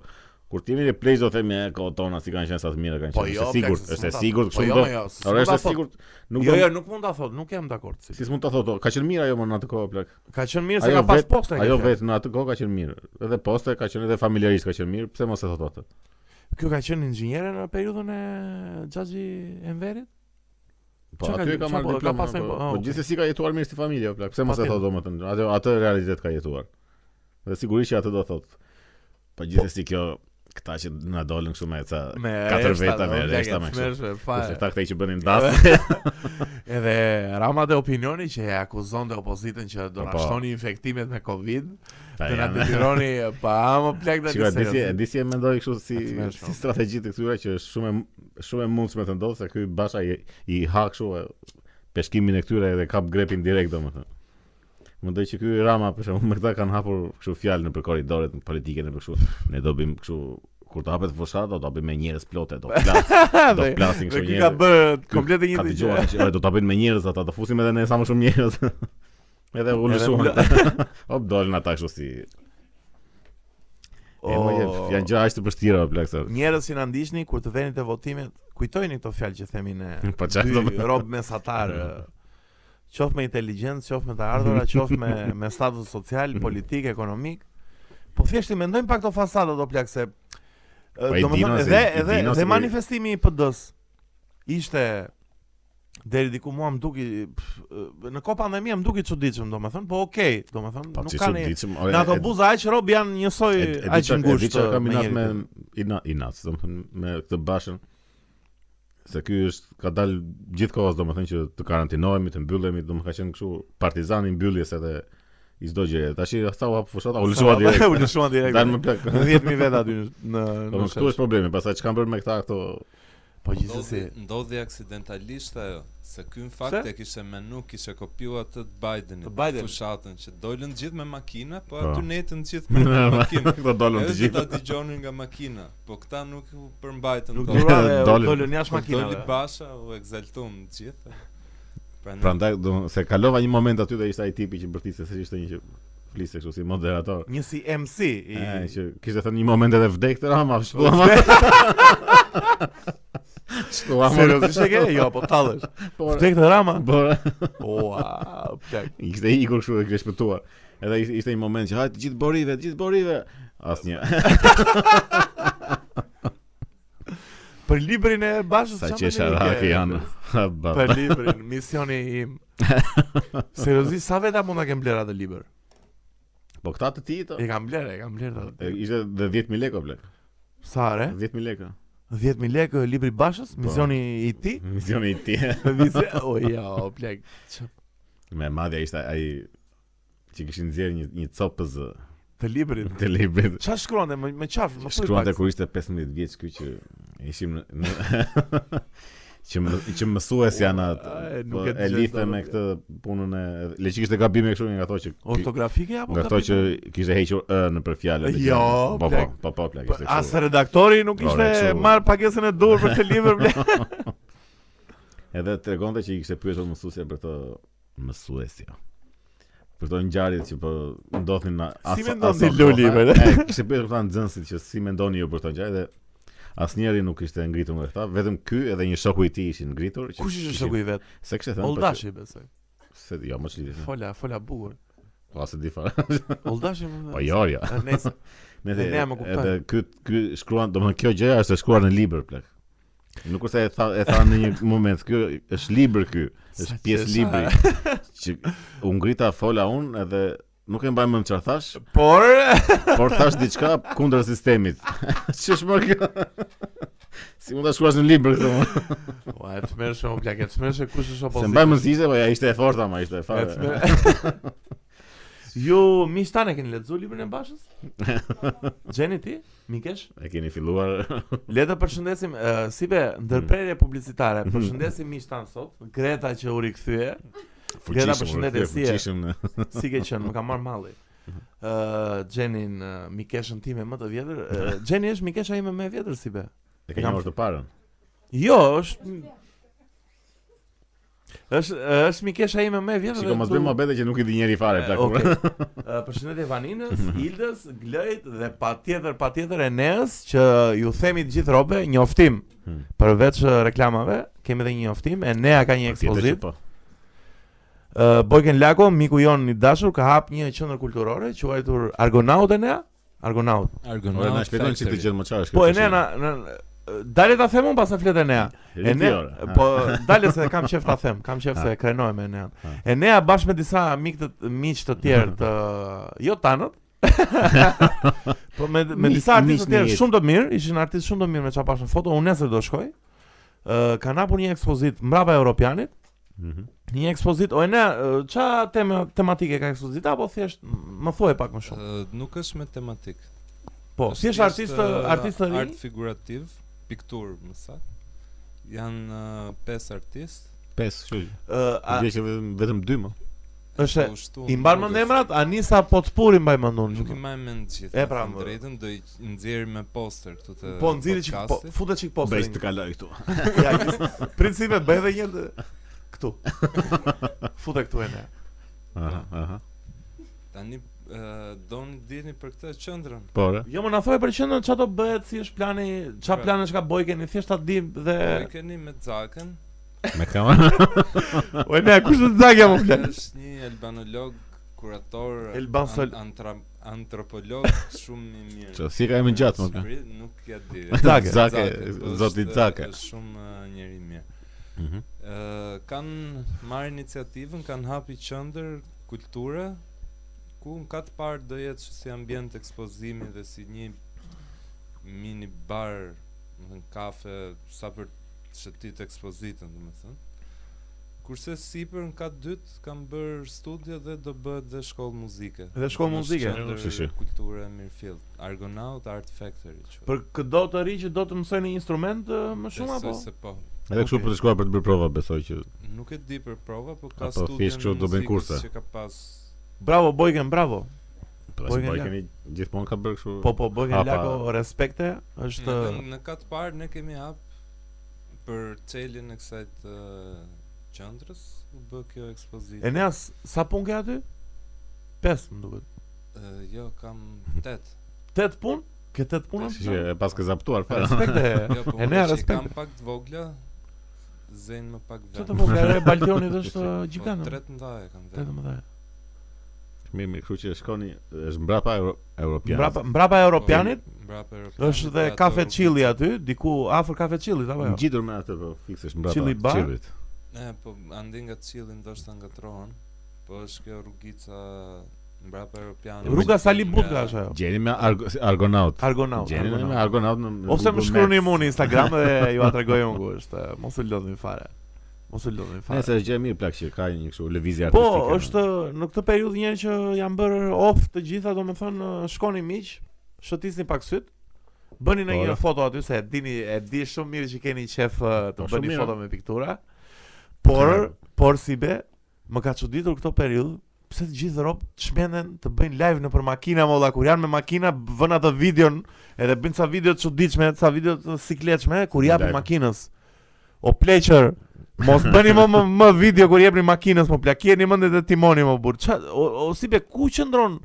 kur ti jemi në plejsh do themi e kohë tona si kanë qenë sa të mira kanë qenë. Po Është jo, e plak, sigurt, se s'mund është e ta- sigurt, Po kështu jo, do. me jo, s'mund Ora është ta e thot. sigurt. Nuk Jo, do. jo, nuk mund ta thot, nuk jam dakord si. Si s'mund ta thotë, ka qenë mirë ajo më në atë kohë plak. Ka qenë mirë se Ajo ka pas vet- poste. Ajo vetë në atë kohë ka qenë mirë. Edhe poste ka qenë edhe familjarisht ka qenë mirë, pse mos e thotë atë? Kjo ka qenë inxhiniere në periudhën e Xhaxhi Enverit? Po Çka ka- aty e ka çka po, marrë ka diplomën. pasur- po, ah, Po okay. gjithsesi ka jetuar mirë si familje, o plak. Pse mos e Patjetër. thotë domethënë? Atë atë realitet ka jetuar. Dhe sigurisht që atë do thotë. Po gjithsesi kjo këta që na dolën kështu me ca Me katër reshta, veta do, me plak, reshta e me kështu. smershme, Kurse fare. këta këta që bënin das. Edhe Rama dhe opinioni që e akuzon dhe opozitën që do na Po. shtoni infektimet me Covid, Ta do na janë. detyroni pa më plak të Shikoj, disi, disi e mendoj kështu si Pra, Atë merr shumë. si strategji të këtyre që është shumë e- shumë e mundshme të ndodhë se ky Basha i, i ha kështu e, peshkimin e këtyre edhe kap grepin direkt domethënë. Mendoj që ky Rama për shembull me këta kanë hapur kështu fjalë nëpër korridoret në politiken e për kështu ne do bëjmë kështu kur të hapet fushat do ta bëjmë me njerëz plotë do flas do Dhe- flasin Dhe kështu ky ka njerëz. bërë komplet një Ka të dëgjuar që "Oj, do ta bëjnë me njerëz ata do fusim edhe ne sa më shumë njerëz. Edhe u Edhe lëshuan. bla- Hop dolën ata kështu si E më jep, Oh. janë gjëra aq të vështira o plak, se Njerëz që na ndiqni kur të veni te votimet, kujtojini këto fjalë që themi ne. Po çfarë Dy do të- rob mesatar. ë, Qoftë me inteligjencë, qoftë me të ardhura, qoftë me me status social, politik, ekonomik. Po thjesht i mendojmë pak këto fasada do plak se Po i ë, do më dino thonë se- edhe i edhe dino se- edhe manifestimi i PD-s ishte deri diku mua më duki pff, ë, në kohë pandemie më duki çuditshëm domethënë, po okay, domethënë Po nuk ti ka çu ne ditshëm, ore. Në ato buza aq rob janë njësoj aq ngushtë. Çfarë kam uh, me inat njëri me tjetrin. inat, inat, do të thënë me këtë bashën. Se ky është ka dalë gjithkohës domethënë që të karantinohemi, të mbyllemi, domethënë ka qenë kështu partizani i mbylljes edhe i çdo gjëje. Tash ata u hap fushata, u lëshua direkt. U lëshuan direkt. Dal më plak. Në 10.000 vetë aty në- në Po në më këtu shef. është problemi, pastaj çka kanë bërë me këta këto Po gjithsesi. Ndodhi, ndodhi aksidentalisht ajo, se ky në fakt Pse? e kishte menu, kishte kopjuar atë të Bidenit, Të Bidenit. fushatën që dolën gjithë me makina, po Po. aty netën gjithë me me makinë. këto dolën të Edhe që ta gjitha. dëgjonin nga makina, po këta nuk u përmbajtën. Nuk dot. dura duran dhe Dolin. Po, dolën jashtë Kur doli makinave. Basha u egzaltuan të gjithë. Pra, Prandaj Prandaj do se kalova një moment aty dhe ishte ai tipi që bërtiste se ishte një që fliste kështu si moderator. Një si MC i E, që kishte thënë një moment edhe vdek të Rama, po- shpëllama. Shpëllama. Seriozisht e ke? Jo, po tallesh. Vdek të Rama. Po, Por, Ua, plak. i kishte ikur kështu e kishte shpëtuar. Edhe ishte- ishte një moment që hajt gjithë borive, gjithë borive. Asnjë. Për librin e Bashës Sa çfarë që mendimi ke? sharaki janë. Ha, ba. Për librin, misioni im. Seriozisht sa veta mund ta kem bler atë libër? Po këta të ti E to. kam bler, e kam bler atë. E, Ishte dhe 10.000 lekë o blek. Sa re? 10.000 lekë. 10000 lekë libri i Bashës, Po. misioni i ti? Misioni i ti. Vise, o ja, plak. Ç- Me madhja ishte ai që kishin nxjerrë një një copëz Të librit. të librit. Qa shkruante me, me qaf? Më thuj Shkruante pak. kur ishte 15 vjeç ky që ishim në, në që më, që mësues janë atë. Ua, e, nuk Po, e e dëgjoj lidhte dot. me këtë punën e le që kishte gabime kështu nga ato që Ortografike apo nga ato kapitull? që kishte hequr ë në për fjalë. me Jo, gjëra. po po, plak. po po plak Po, ishte As kështu. redaktori nuk Ore, ishte kështu. marr pagesën e dur për këtë libër ble. Edhe tregonte që i kishte pyetur mësuesja për të mësuesja. Për to ngjarjet që po ndodhin na Si as- mendon as- ti, as- Luli, as- bre? e, Kishte pyetur këta nxënësit që si mendoni ju për këto ngjarje dhe asnjëri nuk ishte ngritur nga këta, vetëm ky edhe një shoku i tij ishin ngritur. që Kush ishte kishin- shoku i vet? Se kështë e thënë për Oldashi besoj. që- Se, jo, më çlidhi. Fola, fola bukur. Po se di fare. Oldashi. më- Po jo, jo. E, Nice. Ne Ne jam e kuptoj. edhe ky ky shkruan, domethënë kjo gjëja është e shkruar në libër plak. Nuk është se e tha e tha në një moment, ky është libër ky, Sa është pjesë qesha. libri. Që u ngrita fola unë edhe nuk e mbaj më çfarë thash, Por por thash diçka kundër sistemit. Ç'është më kjo? Si mund ta shkruash në libër këtë? mo? Ua, e tmerrshë, o plak, e tmerrshë kush është Se opozita. mbaj më zgjidhje, po ja ishte e fortë ama ishte e E fare. tmerr- Ju miq tanë e keni lexuar librin e Bashës? Gjeni ti? Mikesh? E keni filluar Le të përshëndesim uh, si be ndërprerje publicitare. Përshëndesim miq tan sot. Greta që u rikthye, fuqishëm. përshëndetje, si e? fuqishëm. në- si ke qenë, më ka marr malli. Mhm. Uh, Gjenin, uh, Mikeshën time më të vjetër uh, Mhm. Gjeni është Mikesha ime më e vjetër si be E keni Jam- marrë të parën. Jo, është është, është Mikesha ime më e vjetër Shiko, dhe mos tu- bëjmë mohabete që nuk i di njeri fare plak. Okej. Ë, Përshëndetje Vaninës, Mhm. Ildës, Glejt dhe patjetër patjetër Eneas që ju themi të gjithë robe njoftim. Hmm. Përveç ë, reklamave, kemi edhe një njoftim. Enea ka një Po, tjetër që ekspozit. po. Ë, Bojken Lako, miku jon i dashur, ka hap një qendër kulturore quajtur Argonaut Enea. Argonaut. Ora Argonaut. na shpjegon çik të gjë më çfarë është. Po Enea na, na ë, Dale ta them unë pas e flet Enea. Enea, po dale se kam qef ta them, kam qef se krenoj me Enean. Ha. Enea bashkë me disa mik të miq të tjerë të jo tanët, Po me me Miq- disa miq artistë të në tjerë jetë. shumë të mirë, ishin artistë shumë të mirë me çfarë pashin foto. Unë nesër do shkoj. Ë ka hapur një ekspozit mbrapa europianit. Mhm. Një ekspozit o e ne ë, ç'a tema tematike ka ekspozita apo thjesht më thuaj pak më shumë. Ë, nuk është me tematik. Po, Është thjesht thjesht, artistë ë, artistë të Art rinj. figurativ, piktur, më saktë. Janë ë, pesë artistë. Pesë, kështu. ë, a- Gjej që vetëm vetëm dy më. Është Po, shtu, i mban mend nuk është- emrat Anisa Potpuri mbaj mend unë. Nuk i që- mbaj mend gjithë. E, pra, të më- drejtën do i nxjerr me poster këtu të Po nxirri çik po podcastit. futet çik posterin. Bëj të kaloj këtu. Ja, principe bëj edhe një të- këtu. Fute këtu ende. Aha, aha. Tani ë, do në dini për këtë qendrën. Po, re. Jo, më na thoj për qendrën çfarë do bëhet, si është plani, çfarë Pra. plane çka bëj keni, thjesht ta dim Po i dhe keni me Zakën, me kamerë. O e ne kush do të zagja më flet. është një albanolog, kurator, Elbansol- an- antra- antropolog shumë i mirë. Ço, si e ka më gjatë më plan. Shqipëri, Nuk ja di. Zake, po, zoti është- Zake. është Shumë ë, njeri i mirë. Mhm. Ë kanë marrë iniciativën, kanë hapi qendër kulture ku në katë parë do jetë që si ambient ekspozimi dhe si një mini bar, më thënë kafe sa për të shëtit ekspozitën, do më thënë. Kurse sipër në katë dytë kanë bërë studio dhe do bëhet dhe shkollë muzike. Dhe shkollë muzike. Shi, shi. Qendër kulture Mirfield, Argonaut Art Factory. quhet. Për këdo të ri që do të mësoj një instrument ë, më shumë Besoj apo? se po. Edhe kështu Okej. për të shkuar për të bërë prova, besoj që Nuk e di për prova, po ka Apo studio thjesht kështu do bëjnë muzikës kurse. Që ka pas Bravo Bojken, bravo. Po Po, as e kanë keni gjithmonë ka bërë kështu. Po po Bojken Apa. Lako, respekte, është në, në katë parë ne kemi hap për çelin e kësaj të qendrës, u bë kjo ekspozitë. Eneas, sa punë ke aty? 5 më duket. Ë, jo, kam 8. 8 punë? Ke 8 punë? Shi, e pas ke zaptuar fare. Jo, po Respekte. unë Enea, që i kam respekte. pak të vogla, zënë më pak Ço vend. të vogla re Baltionit është ë, Po gjigant. 13 e kam vend. 18. Mirë, mirë, kështu që shkoni është mbrapa euro, europian. Mbrapa mbrapa Europianit Po, Mbrapa europianit. është dhe ato- kafe Chili aty, diku afër kafe Chillit apo jo? ngjitur me atë po fiksisht mbrapa. Qili bar? Qilit. E, po andi nga qili ndoshta ngatrohen. Po është kjo rrugica mbrapa europianit. Rruga Sali Nga- Butka është ajo. Gjeni me Argo, Argonaut. Argonaut. Gjeni me Argonaut. Argonaut në në Ose më Google shkruani Maps. mua në Instagram dhe ju atregoj unë ku është. e, Mos u lodhni fare. Mos u lodhni fare. Nëse është gjë e mirë plak që ka një kështu lëvizje Po, artistike. është në këtë periudhë njerë që janë bërë off të gjitha, domethënë shkoni miq, shëtisni pak syt. Bëni në një Ora. foto aty se e dini, e di shumë mirë që keni qef e, Po, të shumë bëni mirë. foto me piktura. Por, Mirë. por si be, më ka çuditur këto periudhë pse të gjithë rob çmenden të bëjnë live nëpër makina molla kur janë me makina vënë atë videon edhe bëjnë ca video të çuditshme, ca video të sikletshme kur japin Live. makinës. O pleqër, mos bëni më më, më video kur jepni makinës, mo plakjeni mendet e timoni më burr. Ça o, o si be ku qëndron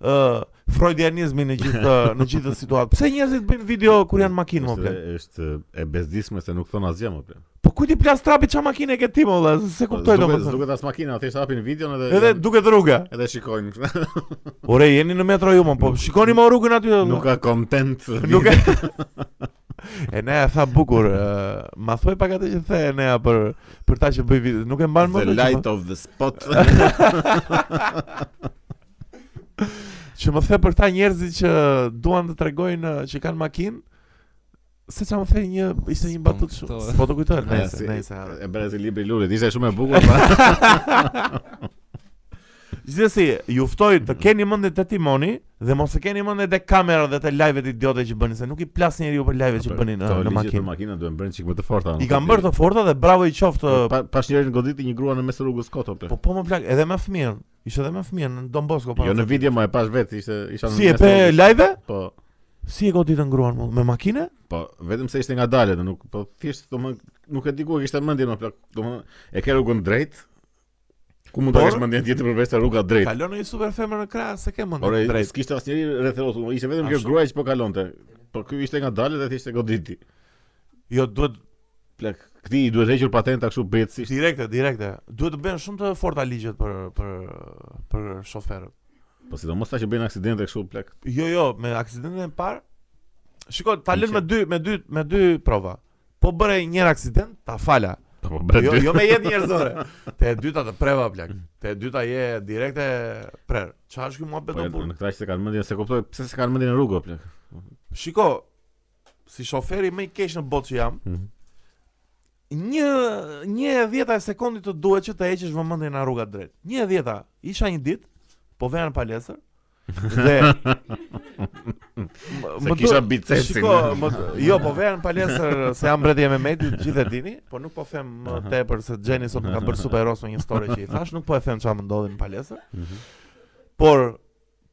ë freudianizmi në gjithë në gjithë këtë situatë. Pse njerëzit bëjnë video kur janë makinë më Është- plak? Është e bezdisme se nuk thon asgjë më plak. Po ku ti plas trapi ç'a makine ke ti molla? Se kuptoj Duket domethënë. duket as makina, thjesht hapin videon edhe Edhe duket rruga. edhe shikojnë. Ore, jeni në metro ju, më po shikoni më rrugën aty. dhe- Nuk ka content. Nuk e E nea tha bukur, ë, ma thuaj pak atë që the e nea për për ta që bëj video. Nuk e mban më. The këtë që light më- of the spot. Që më the për ta njerëzit që duan të tregojnë ë, që kanë makinë. Se çam the një ishte një S'po batutë më shumë. kujtohet. Po të kujtoj, Ja, nëse, si- nëse. ha. E bëra si libri i lulet, ishte shumë e bukur. pa. Gjithsesi, ju ftoj të keni mendje te timoni dhe mos e keni mendje te kamera dhe te live-et idiote që bëni, se nuk i plas njeriu për live që bëni në, Këto në ligjet për makinë. makinat duhen bërë çik më të forta. I kam bërë të forta dhe bravo i qoftë Pa, pas njërin goditi një grua në mes të rrugës kot opte. Po po më plak, edhe me fëmijën. Ishte edhe me fëmijën në Don Bosco para. Jo në se- video më e pash vetë, ishte isha në po. Si e mes të pe rrugës. live? Po, Si e goditën gruan mu? me makine? po vetëm se ishte nga dalë, do nuk po thjesht domthon nuk e di ku e kishte mendjen më plak. Domthon e ke rrugën drejt. Ku mund ta Por- kesh mendjen tjetër përveç se rruga drejt? Kalon në një super femër në krah, se ke mend Ore, drejt. s'kishte asnjëri rreth rrotullt, domthon, ishte vetëm A, kjo shumë. gruaja që po kalonte. Po ky ishte nga dalë dhe thjesht e goditi. Jo, duhet Plak, këti i duhet hequr patenta kështu bëhetësisht. direkte, direkte. Duhet të bëhen shumë të forta ligjet për për për shoferët. Po sidomos ta që bëjnë aksidente kështu plak. Jo, jo, me aksidentin e parë. Shiko, ta Nuk lën e- me dy me dy me dy prova. Po bëre një herë aksident, ta fala. Po bëra Jo, dy. jo me jetë njerëzore. Te e dyta të preva plak. Te e dyta je direkte prer. Çfarë është ky muhabet Po në janë- punë? në këtë rast se kanë mendjen se kuptoj pse se kanë mendjen në rrugë o plak. Shiko, si shoferi më i keq në botë që jam, Mhm. një një e dhjeta e sekondit të duhet që të heqësh vëmendjen nga rruga drejt. Një e dhjeta. Isha një ditë, po veja në palestër dhe M- Se më kisha duhet- bicepsin. Shiko, më, jo, po veja në palestër se jam mbreti i MMA-t, gjithë e dini, po nuk po them më tepër se Jenny sot më ka bërë superheros me një story që i thash, nuk po e them çfarë më ndodhi në palestër. Por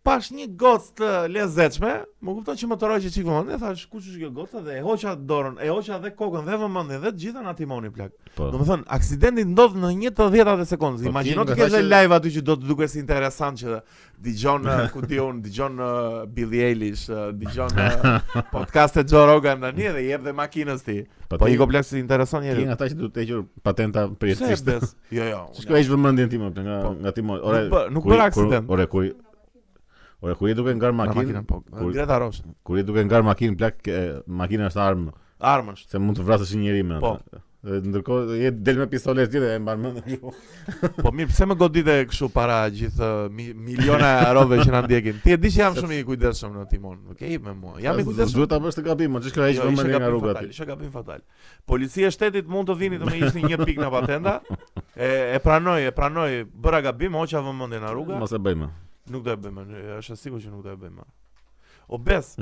pash një gocë të lezetshme, më kupton që më tëroj që çik vëmendje, thash kush është kjo goca dhe e hoqa dorën, e hoqa dhe kokën dhe vëmendjen dhe të gjitha na timoni plak. Po. Do të thënë, aksidenti ndodh në 1 të 10 e sekondës. Po, Imagjino ti të nga kesh tha dhe që- live aty që do të duket si interesant që dëgjon eh, ku diun, dëgjon eh, Billie Eilish, eh, dëgjon eh, podcastet Joe Rogan tani dhe jep dhe makinës ti. Po i ti- kompleks si intereson Ti njëri. nga ata që duhet të hequr patenta Pse e përjetësisht. bes? Jo, jo. Ti shkoj vëmendjen time apo nga Po. nga timon. Ore, Nuk bë- nuk kur i- bëra kur- aksident. Ore, kur i- Ore, kur je duke ngar Nga makinë, makina, po. kur- Greta Rosh. kur je duke ngar makinë, plak, ke- makina është armë, Armësh. se mund të vrasësh një njerëz me Po. atë. Dhe ndërkohë je del me pistolet ti dhe e mban mend. Po mirë, pse më godite kështu para gjithë uh, mi, miliona rove që na ndjekin? Ti e di që jam shumë i kujdesshëm në timon. Okej, me mua. Jam i kujdesshëm. Duhet ta bësh të gabim, më ç'ka heq Jo, ishte vëmendjen Pra nga gabim rruga fatal, ti. ishte gabim fatal. Policia e shtetit mund të vini të më ishni një pikë në patenta. E, e pranoj, e pranoj, bëra gabim, hoqa vëmendje në rrugë. Mos e bëjmë. Nuk do e bëjmë, është e sigurt që nuk do e bëjmë. O bes,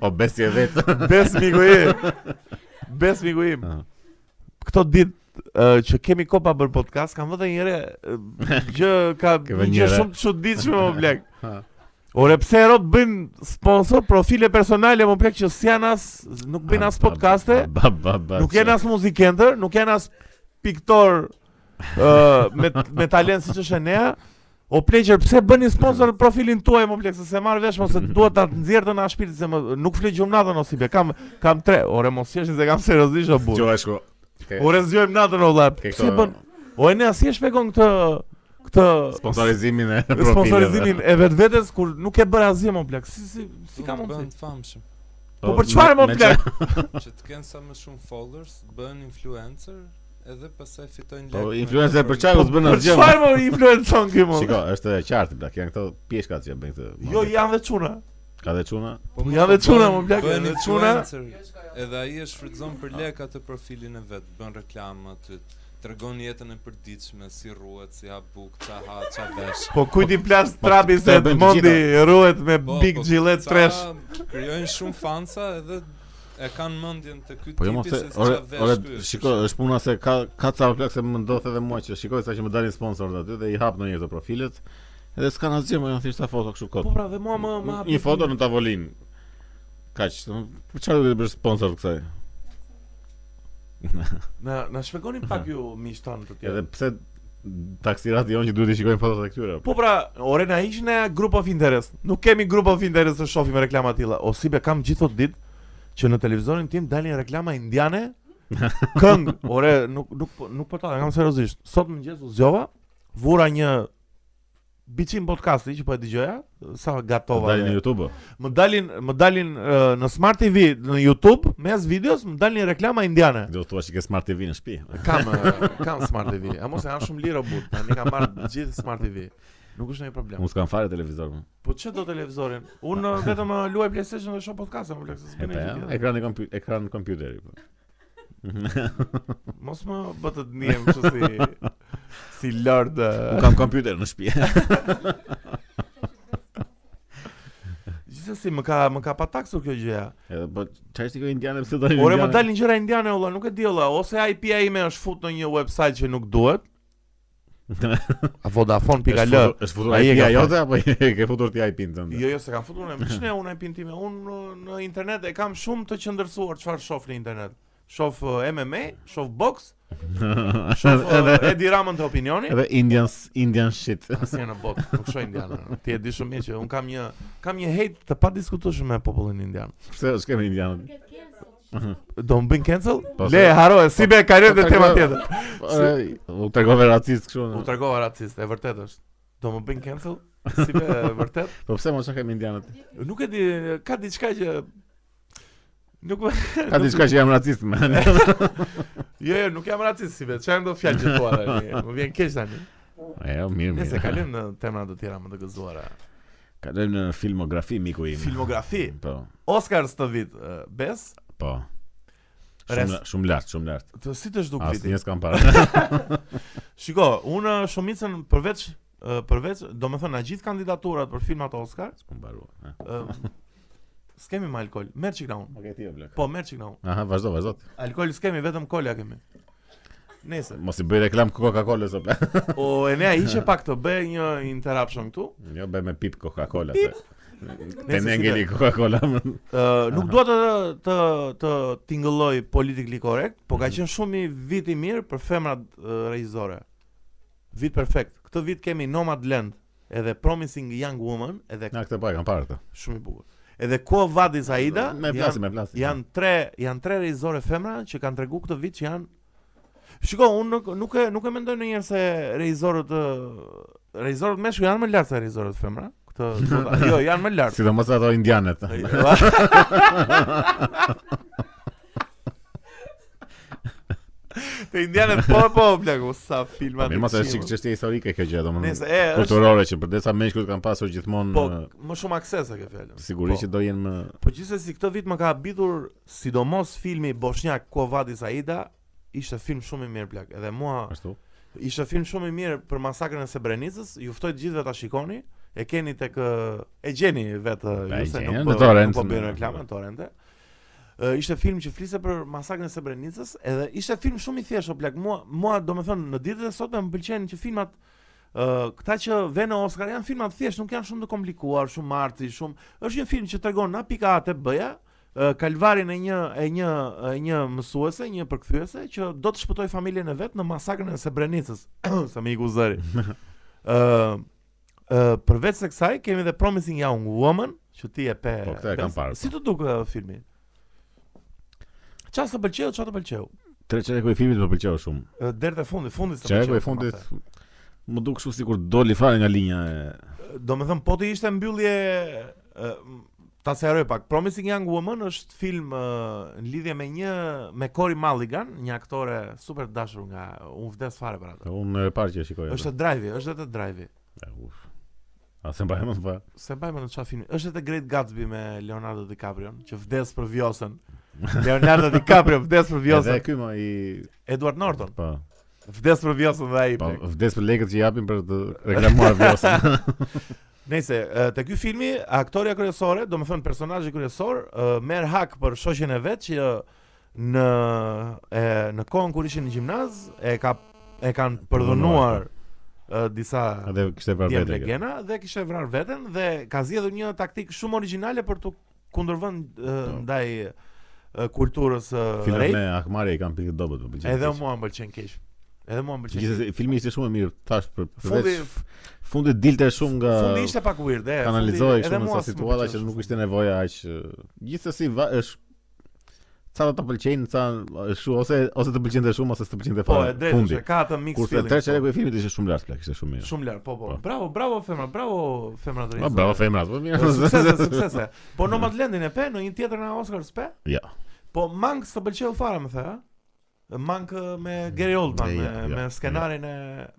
O besi e vet. bes miku im. Bes miku im. Aha. Këto ditë ë, që kemi kopa për podcast, kam vënë një re ë, gjë ka Ke një vënë gjë një re. shumë të çuditshme o blek. Ha. Ore pse erot bëjnë sponsor profile personale më plek që si janë as nuk Ah, bëjnë as podcaste, Ba ba ba. nuk janë as muzikenter, nuk janë as piktor ë me me talent siç është Enea. O pleqer, pse bëni sponsor profilin tuaj më plek se se marr vesh mos se duhet ta nxjerrë nga shpirti se më, nuk flet gjumnatën ose be kam kam tre. Ore mos jesh se kam seriozisht o burr. Jo, e shko. Ke- Ore zgjojmë natën o vllap. ke Pse këto- bën? O Enea si e shpjegon këtë këtë Sponsorizimin e profileve. sponsorizimin e vetvetes kur nuk e bëra asgjë më plak. Si si si ka mundsi? të famshëm. Po për çfarë më me- me plak? Që të kenë sa më shumë followers, bëhen influencer, edhe pastaj fitojnë Po lekë me influencer për çaj u Po, zbën Për asgjë. çfarë më influencon kë më? Shiko, është e qartë plak, janë këto pjeshkat që bëjnë këtë. Jo, mohbet. janë dhe çuna. Ka dhe çuna? Po Po janë dhe çuna, më plak, Bëhen janë dhe çuna. influencer, Edhe ai e shfrytëzon për lekë atë profilin e vet, bën reklama aty. Tregon jetën e përditshme, si rruhet, si ha bukë, ça ha, ça vesh. Po kujt i plas po, trapi se këta bëjnë të Edmondi ruhet me Po, Big po, Gillette ca Fresh. Krijojnë shumë fansa edhe e kanë mendjen te ky Po jo tipi mos e, se ore, çfarë vesh ore, ky. është. shiko, është puna se ka ka ca plak se më ndodh edhe mua që shikoj sa që më dalin sponsorët aty dhe i hap ndonjë këto profilet. Edhe s'kan asgjë, më janë thjesht ta foto kështu kot. Po pra dhe mua më më hapi Një foto në tavolinë. Kaq, domethënë, për çfarë do të bësh sponsor kësaj? Na na shpjegoni pak ju miq tanë të Edhe tjerë. pse taksirati jon që duhet i shikojnë fotot e këtyre. Po pra, ore na ishin në group of interest. Nuk kemi group of interest të shohim reklama të tilla. O si be kam gjithë ditë që në televizorin tim dalin reklama indiane. Këngë, ore nuk nuk po- nuk po ta kam seriozisht. Sot mëngjes u zgjova, vura një biçim podcasti që po e dëgjoja, sa gatova. Dalin me- në YouTube. Më dalin më dalin eh, në Smart TV, në YouTube, mes videos më dalin reklama indiane. Do të thua që ke Smart TV në shtëpi. Kam eh, kam Smart TV. A mos e janë shumë lirë o but, tani kam marrë gjithë Smart TV. Nuk është ndonjë problem. Unë s'kam fare televizor. më. Po çe do televizorin? Unë eh, vetëm eh, luaj PlayStation dhe shoh podcast, më plak se E s'bën pa, gjë tjetër. ekran e kompju- ekran kompjuteri. po. Mos më bë të dniem kështu si si lord. Unë kam kompjuter në shtëpi. Gjithsesi më ka më ka pataksur kjo gjëja. Edhe po çfarë është kjo indiane pse dalin? Ore po më indiane? dalin gjëra indiane olla, nuk e di olla, ose IP-ja ime është fut në një website që nuk duhet. A Është Vodafone.al. futur- Është futur Ai e IP-ja ka jote apo e ke futur ti IP-n tënd? Jo, jo, se kam futur unë, ç'ne unë e pintime. Unë uh, në internet e kam shumë të qëndërsuar çfarë shoh në internet. Shoh uh, MMA, shoh box, shoh uh, Edi Ramën të opinioni. Edhe Indians Indian shit. Asnjë në botë, nuk shoh indianë. Ti e di shumë mirë që un kam një kam një hate të padiskutueshëm me popullin indian. Pse është kemë indianët? Do më bëjnë cancel? Po, Le, se- haro, e si be kaloj po, te tema tregova- tjetër. Ore, Po, u tregove racist U kështu. tregova racist, e vërtet është. Do më bëjnë cancel? Si be e vërtet? Po pse mos kemi indianët? Nuk e di, ka diçka që nuk Ka diçka që jam racist më. Jo, jo, nuk jam racist si vetë. Çfarë do fjalë që thua tani? Më vjen keq tani. E, jo, mirë, Nëse mirë. kalojmë në temra të tjera më të gëzuara. Kalojmë në filmografi miku im. Filmografi. Po, Oscars të vit, ë, Bes, po. Res- Shumë shumë lart, shumë lart. të si të zhduk As viti? një s'kam parë. Shiko, unë shumicën përveç ë, përveç, do me thënë, na gjithë kandidaturat për filmat Oscar, S'kam mbaruar. ë, s'kemi më alkool, merë qikna unë. Okej, ti o blok. Po, merë qikna unë. Aha, vazhdo, vazhdo. Alkool s'kemi, vetëm kola kemi. Nese. Mos i bëj reklam Coca-Cola sot. O, Po, Enea ishe pak të bëj një interruption këtu. Jo, bëj me pip Coca-Cola se. Te Nese si ngeli bëj. Coca-Cola. Ë, nuk dua të të të tingëlloj politically correct, po Mhm. ka qenë shumë i vit i mirë për femrat ë, regjizore. Vit perfekt. Këtë vit kemi Nomadland, edhe Promising Young Woman, edhe Na këtë pa e kam parë këtë. shumë i bukur. Edhe Quo Vadis Aida Me plasi, me plasi. janë tre janë tre regjizore femra që kanë treguar këtë vit që janë Shiko, unë nuk nuk e nuk e mendoj ndonjëherë se regjizorët ë, regjizorët meshkuj janë më lart se regjizorët femra. Këtë quota. jo, janë më lart. Sidomos ato indianët. Te indianët po po plaku sa filma. Po, Mirë, mos e shik çështje historike kjo gjë, Nëse domethënë. e është Kulturore që përdesa meshkujt kanë pasur gjithmonë po eh, më shumë akses e ke fjalën. sigurisht po. që do jenë më Po gjithsesi këtë vit më ka habitur sidomos filmi bosnjak Kovadi Saida, ishte film shumë i mirë plak. Edhe mua ashtu. Ishte film shumë i mirë për masakrën e Srebrenicës, ju ftoj të gjithëve ta shikoni. E keni tek ë, e gjeni vetë Pa, ju e se gjeni, nuk në po torrent, nuk po bën në- reklamë në torrente. Ë, ishte film që fliste për masakrën e Srebrenicës, edhe ishte film shumë i thjeshtë o plak. Mua mua domethënë në ditët e sotme më pëlqejnë që filmat ë këta që vënë në Oscar janë filma të thjeshtë, nuk janë shumë të komplikuar, shumë arti, shumë. Është një film që tregon na pika atë bëja, ë, kalvarin e një e një e një mësuese, një përkthyese që do të shpëtoj familjen e vet në masakrën e Srebrenicës. Sa më i guzari. ë ë përveç se kësaj kemi edhe Promising Young Woman, që ti e pe. Po, këtë e kam pe- parë, Si të duk ë, filmi? Çfarë të pëlqeu, çfarë të pëlqeu? Tre çereku i filmit më pëlqeu shumë. Ë, Deri te fundi, fundi s'të Çereku pëlqeu, i fundit ma the. më duk kështu sikur doli fare nga linja e Do me thëmë, po të ishte mbyllje ë, m- Ta sqaroj pak Promising Young Woman është film ë, Në lidhje me një Me Cory Mulligan Një aktore super dashur nga Unë vdes fare për atë unë e parë që e shikoj. Po. është të drive Është dhe të atë. drive E, uf. A se mbaj po. më pa. Se baj më në qa filmi është dhe të Great Gatsby me Leonardo DiCaprio Që vdes për vjosen Leonardo DiCaprio vdes për Edhe vjosen ky më i Edward Norton po. Vdes për vjosen dhe ai Po plak. vdes për lekët që japin për të reklamuar vjosën. Nëse te ky filmi aktoria kryesore, domethënë personazhi kryesor, ë, merr hak për shoqen e vet që në e, në kohën kur ishin në gjimnaz e ka e kanë përdhënuar ë, disa Edhe kishte vrarë djem vetë. kjo. legjena dhe kishte vrarë veten dhe ka zgjedhur një taktik shumë origjinale për të kundërvënë ë, ndaj ë, kulturës ë, Filmat rej. Po. me Ahmari i kanë pikë të dobët më pëlqen. po, Edhe keq. mua më pëlqen keq. Edhe mua më pëlqen. keq. Gjithsesi filmi ishte shumë i mirë, thash për Fundi përveç fundi dilte shumë nga fundi ishte pak weird, e. fundi- kanalizoi edhe kështu në mua sa s'më situata pëlqen që shumë. nuk ishte nevoja aq. e, Gjithsesi va- është sa do të pëlqejnë, sa shu ose ose të pëlqente shumë ose s'të pëlqente Po, e fare. drejtë, fundi. është, ka atë mix Kurse feeling. po. tre çereku i filmit ishte shumë lart plak, ishte shumë mirë. Shumë lart, po po. Po. Bravo, bravo femra, bravo femra të Ma rinj. bravo femrat, po mirë. Suksese, suksese. Po Nomadlandin e pe, në një tjetër na Oscar s'pe? Ja. Po Mank s'të pëlqeu fare, më the, ë? Mank ë, me Gary Oldman, Ne, me, ja, ja, me ja. skenarin e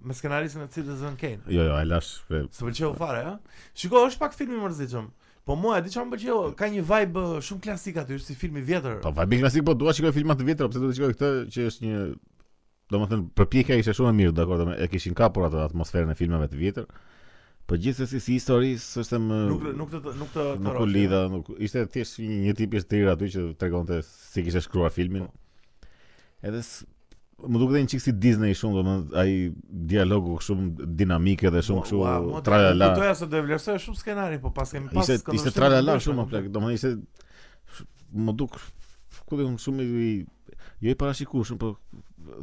me skenaristin e Citizen Kane. Jo, jo, e lash. e, S'të pëlqeu fare, ë? Shiko, është pak film i mërzitshëm. Po mua e di çfarë më pëlqeu, ka një vibe ë, shumë klasik aty, është si film i vjetër. Po vajbi klasik, po dua shikoj filma të vjetra, pse do të shikoj këtë që është një domethënë përpjekja ishte shumë e mirë, dakor, domethënë e kishin kapur atë atmosferën e filmave të vjetër. Po gjithsesi si histori s'është më Nuk nuk të nuk të të nuk u rosh, lidha, nuk ishte thjesht një, një tip i shtrirë aty që tregonte si kishte shkruar filmin. Edhe s- më duket edhe një çik si Disney shumë, domethënë ai dialogu shumë dinamik edhe shumë Po, Ua, ua, mo, kështu do- tralala. Doja se do e vlerësoja shumë skenarin, po pas kemi pas Ishte ishte këndvështrime të tralala ndryshme, shumë kupton? plak, domethënë ishte më duk ku diun shumë i jo i parashikueshëm, po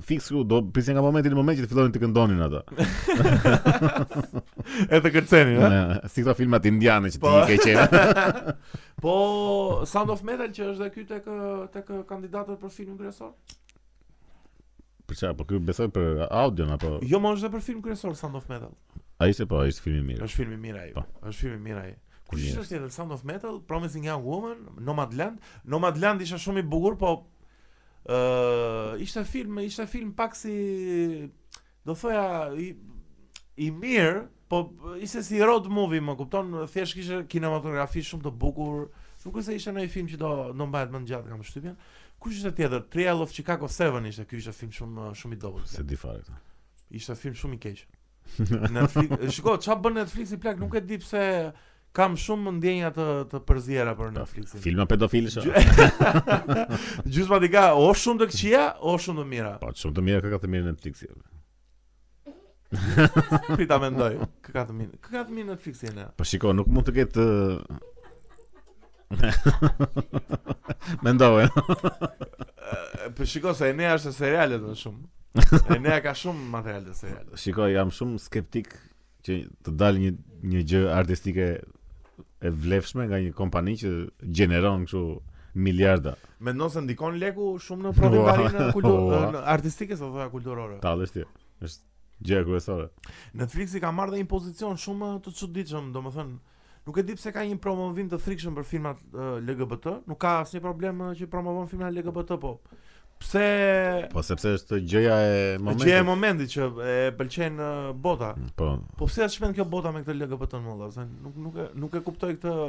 fiks ku do pse nga momenti në moment që të fillonin të këndonin ata. E të kërcenin, ha? Në- Si këto filmat indiane që ti Po. i ke qenë. Po Sound of Metal që është dhe ky tek ë, tek ë, kandidatët për filmin kryesor? Për çfarë? Po ky besoj për audion apo Jo, më është dhe për film kryesor Sound of Metal. ai ishte po, ai ishte film i mirë. Është film i mirë ai. Po. Është film i mirë ai. Kur Mirë. ishte tjetër Sound of Metal, Promising Young Woman, Nomadland. Nomadland ishte shumë i bukur, po Ë, ishte film, ishte film pak si do thoja i, i mirë, po ishte si road movie, më kupton, thjesht kishte kinematografi shumë të bukur. Nuk është se ishte ndonjë film që do do mbahet më gjatë kam shtypjen. Kush ishte tjetër? Trial of Chicago 7 ishte, ky ishte film shumë shumë Se i dobët. di fare këtë. Ishte film shumë i keq. Netflix, shiko, çfarë bën Netflixi plak, nuk e di pse kam shumë ndjenja të të përziera për Netflixin. Filma pedofilësha. Gjy- Gjysma t'i ka o shumë të këqija, o shumë të mira. Po, shumë të mirë ka ka të mirë në Netflix. jo. Prita mendoj. Kë ka të mirë. Kë ka të mirë Netflixi ne. Po shiko, nuk mund të ketë Mendoj. E, Po shiko se Enea është e serialet më shumë. Enea ka shumë material të serialet. Shiko, jam shumë skeptik që të dalë një një gjë artistike e vlefshme nga një kompani që gjeneron kështu miliarda. Mendon se ndikon leku shumë në prodhimin e Ua, kulturë ua. në artistike sa thoya kulturore. Tallesh ti. Është gjë e kryesore. Netflixi ka marrë dhe një pozicion shumë të çuditshëm, domethënë Nuk e di pse ka një promovim të frikshëm për filmat eh, LGBT, nuk ka asnjë problem eh, që promovon filmat LGBT, po pse Po sepse është gjëja e momentit. Gjë e momentit që e pëlqen uh, bota. Po, Po pse atë shmend kjo bota me këtë LGBT në valla? Se Nuk nuk e nuk e kuptoj këtë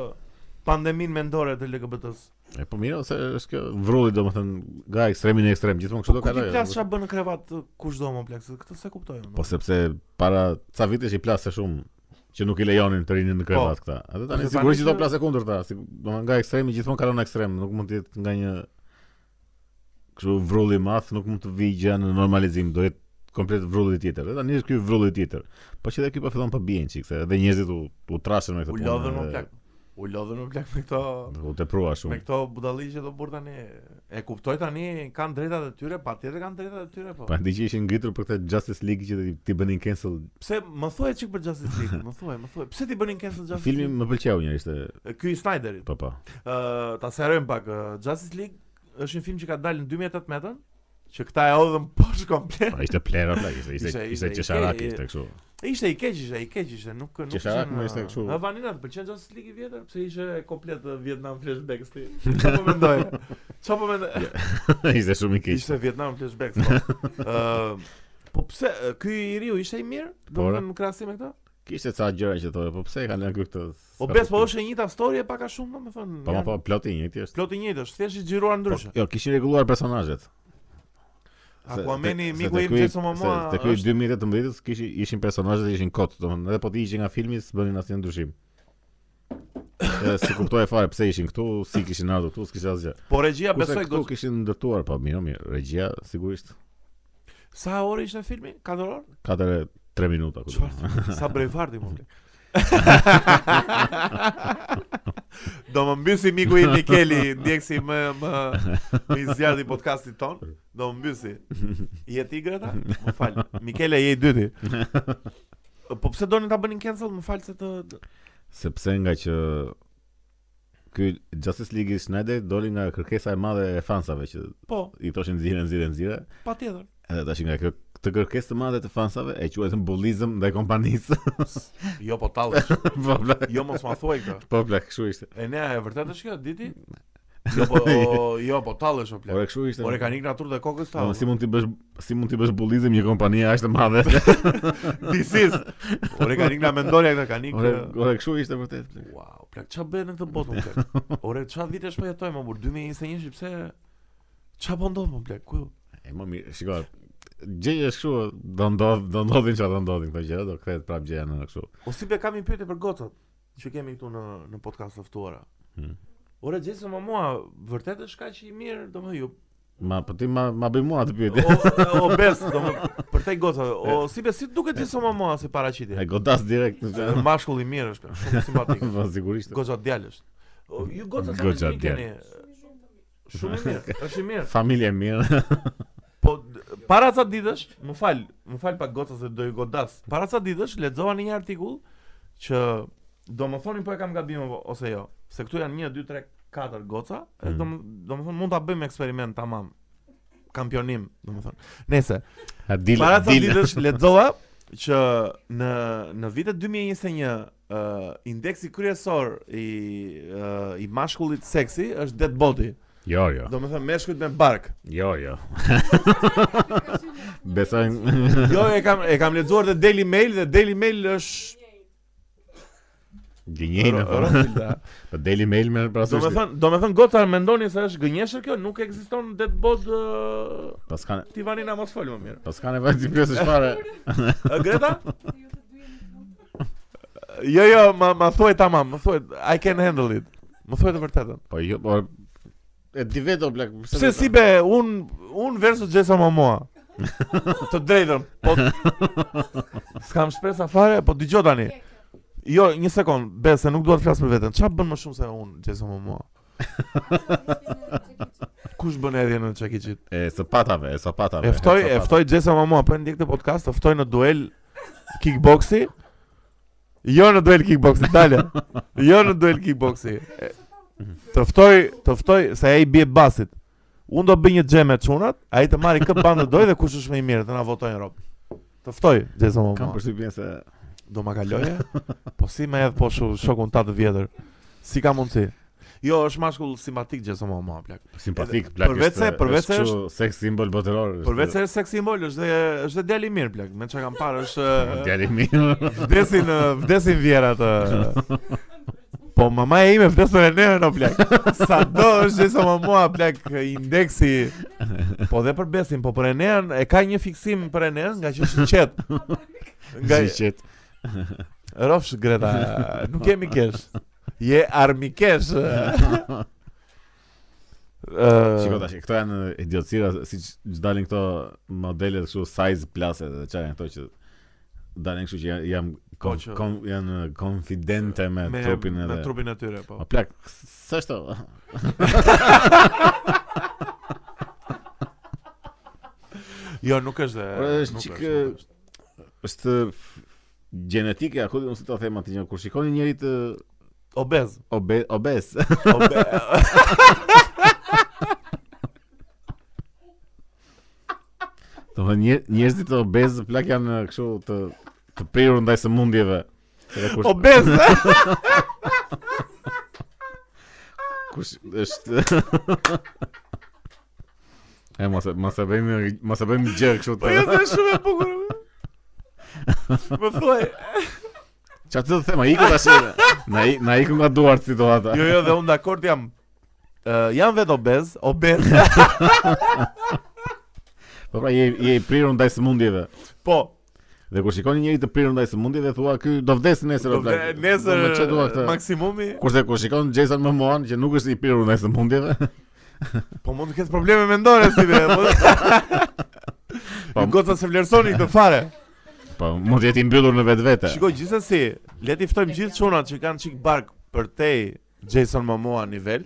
pandemin mendore të LGBT-s. e po mirë ose është kjo vrulli domethënë nga ekstremi në ekstrem gjithmonë Po kështu do ku ti plas kalojë. çfarë bën në krevat uh, kushdo më plak, se këtë se kuptoj unë. Po sepse para ca vitesh i plasë shumë që nuk i lejonin të rinin në krevat këta. Atë tani Ose sigurisht Po. tani që do që- plasë kundërta, si do nga ekstremi gjithmonë kalon në ekstrem, nuk mund të jetë nga një kështu vrulli i madh, nuk mund të vijë gjë në normalizim, do jetë komplet vrulli tjetër. Dhe tani është ky vrulli tjetër. Po që edhe ky po fillon po bien çik, se edhe njerëzit u u trashën me këtë u punë. lodhën më dhe plak. U lodhën më plak me këto U teprua me shumë. këto budalli që do bur tani. E kuptoj tani, kanë drejtat e tyre, patjetër kanë drejtat e tyre, po. Pa ndi që ishin ngritur për këtë Justice League që ti- ti bënin cancel. Pse më thuaj çik për Justice League, më thuaj, më thuaj. Pse ti bënin cancel Justice Filmi League? më pëlqeu një ishte, Filmi ky i Snyderit. po po. Ë, ta serojm pak ë, Justice League është një film që ka dalë në 2018-ën, që këta e hodhën poshtë komplet. Po ishte plera plak, ishte Ishte- ishte ishte ishte qesharak i- ishte kështu. Ishte i keq, ishte i keq, ishte nuk nuk Qesharak, ishin, më ë, ishte kështu. ë, Vanina të pëlqen Justice League i vjetër, pse ishte komplet ë, Vietnam flashbacks ti. Çfarë po mendoj? Çfarë po mendoj? ishte shumë i keq. Ishte Vietnam flashbacks. po. Ë, po pse ë, ky i riu ishte i mirë? Do Ora. të në krahasim me këtë? Kishte ca gjëra që thoya, po pse e kanë lënë këtë? O bes po është e njëjta story e pak a shumë, domethënë. Po ma po ploti i njëjti është. plot i njëjtë, është thjesht i xhiruar Po, ndryshe. jo, kishin rregulluar personazhet. Se- Aquamani te- miku Po, se im te ky- Jason Momoa. se Te ky 2018-s kishin ishin personazhet ishin kot, domethënë edhe po ti iqi nga filmi s'bënin asnjë ndryshim. Edhe si kuptoj fare pse ishin këtu, si kishin ardhur këtu, s'kishte asgjë. Po regjia Kurse besoj këtu kishin ndërtuar, po mirë, mirë, regjia sigurisht Sa orë ishte filmi? 4 orë? 4 3 minuta ku. Çfarë? Sa brejfarti më blek. Do më mbysi miku i Nikeli, ndjekësi më më më i zjarrit i podcastit ton. Do më mbysi. Je ti Greta? Më fal. Mikele je i dyti. Po pse doni ta bënin cancel? Më fal se të Sepse nga që ky Justice League i Snyder doli nga kërkesa e madhe e fansave që po, i thoshin nxirë, nxirë, nxirë. patjetër. Edhe tash nga kjo këtë kërkesë të madhe të fansave e quajtën bullizëm ndaj kompanisë. Jo po tallesh. po plak, Jo mos ma thuaj këtë. po plak, kështu ishte. E ne, e vërtet është kjo, diti? Jo po, o, jo po tallesh o plak. Ore kështu ishte. Ore ka një natur të kokës ta. Po, si mund ti bësh si mund ti bësh bullizëm një kompani aq të madhe? This is. Ore ka një na mendoria këta kanë Ore, një. ore kështu ishte vërtet. plak. Wow, plak ç'a bën në këtë botë më plak. Ore ç'a vitesh po jetojmë më 2021 pse ç'a po ndodh më plak? Ku? E më mirë, shiko. Gjëja është kështu, do ndodh, do ndodhin çfarë do ndodhin këto gjëra, do kthehet prapë gjëja në kështu. O si be kam një pyetje për gocat që kemi këtu në në podcast të ftuara. Hmm. Ore Jason Momoa vërtet është kaq i mirë, domethënë ju. Ma po ti ma ma bëj mua atë pyetje. O o bes, domethënë për te goca. O si be si duket Jason Momoa si E paraqitje? godas direkt. Mashkull i mirë është, plak, shumë simpatik. Po sigurisht. Goca djalësh. O, Ju goca kanë Goxha një keni. Shumë i mirë, është i mirë. Familje e mirë. Po d- para ca ditësh, më fal, më fal pak goca se do ju godas. Para ca ditësh lexova në një artikull që do më thoni po e kam gabim apo- ose jo, se këtu janë 1 2 3 4 goca, e do më, do më thonë mund ta bëjmë eksperiment tamam. Kampionim, do më thonë. Nese, Ha dil. para ca dil. ditësh lexova që në në vitet 2021 ë indeksi kryesor i ë, i mashkullit seksi është dead body. Jo, jo. Do me thënë meshkujt me bark Jo, jo. Besoj Jo, e kam, e kam lexuar dhe Daily Mail Dhe Daily Mail është gënjejnë Ro- apo. Rotilda. Po Daily Mail më Do me parasysh. thënë, do me thënë Gotar mendoni se është gënjeshtër kjo Nuk ekziston në dead bod Pas kanë Ti vanina mos fol më mirë pas kanë vajtë ti pyesësh fare. Ë, Greta? Jo, jo, ma, ma thuaj tamam Më thuaj, I can handle it Më thuaj të vërtetën Po jo, po e di vetë o blak. Pse si be, un un versus Jason Momoa. të drejtën, po s'kam shpresa fare, po dëgjoj tani. Jo, një sekond, be se nuk dua të flas për veten. Çfarë bën më shumë se un Jason Momoa? Kush bën erjen në Jackie Chan? E sapatave, e sapatave. E ftoj, e sapatave. ftoj Jason Momoa, po e ndjek këtë podcast, e ftoj në duel kickboxi. Jo në duel kickboxi, dalje. Jo në duel kickboxi. E, Të ftoj, të ftoj se ai bie basit. Unë do bëj një xhem me çunat, ai të marri kë bandë doj dhe kush është më i mirë, të na votojnë rob. Të ftoj Jason Kam Momoa. përshtypjen se Do ma kaloje? Po si më hedh po shu- shokun ta të vjetër. Si ka mundsi? Jo, është mashkull simpatik Jason Momoa, plak. simpatik Edhe- blak. përveç se- përveç se kështu sex symbol botëror. është- Përveç se është seksi simbol, është dhe është dhe djalë i mirë, plak. Me çka kam parë është djali mirë. Vdesin, ë, vdesin vjera të... Po mama e ime vdesën e nërë në plak Sa do është gjesa mamua plak Indeksi Po dhe për besin Po për e nërën E ka një fiksim për e nërën Nga që është qetë Nga Ziqet. Rofsh Greta Nuk jemi kesh Je armikesh Shiko Ë, tash, këto janë idiotësira siç që dalin këto modele kështu size plase dhe çfarë janë këto që dalin kështu që janë jam kon, Po që- kon, janë konfidente me, me trupin edhe. me trupin e tyre po Ma plak, s'është to. Jo nuk është dhe Ore, është nuk qik, nuk është. Është gjenetike, apo unë si ta them atë gjë kur shikoni njëri të Obez obe, obes. Obe... Do të një, njerëzit të obez plak janë kështu të të prirur ndaj sëmundjeve. Edhe kur Obez kush është E mos e mos e bëjmë mos e bëjmë gjë kështu Po jetë të. është shumë e bukur. Më thuaj. Çfarë të them, ai ku tash. Na i- na iku nga duart situata. Jo, jo, dhe unë dakord jam. Uh, jam vetë obez, obez. Po pra je je i prirur ndaj sëmundjeve. Po, Dhe kur shikoni njëri të prirur ndaj sëmundjeve, thua ky do vdes nesër o do plak. vre- Do më çe dua nesër këtë. maksimumi, Kurse kur shikon Jason Momoan që nuk është i pirur ndaj sëmundjeve, po mund të ketë probleme mendore si be. Po Po. goca se vlerësoni këtë fare. po mund të jetë i mbyllur në vetvete. Shikoj gjithsesi, le ti ftojmë gjithë çunat që kanë çik bark për te Jason Momoa nivel,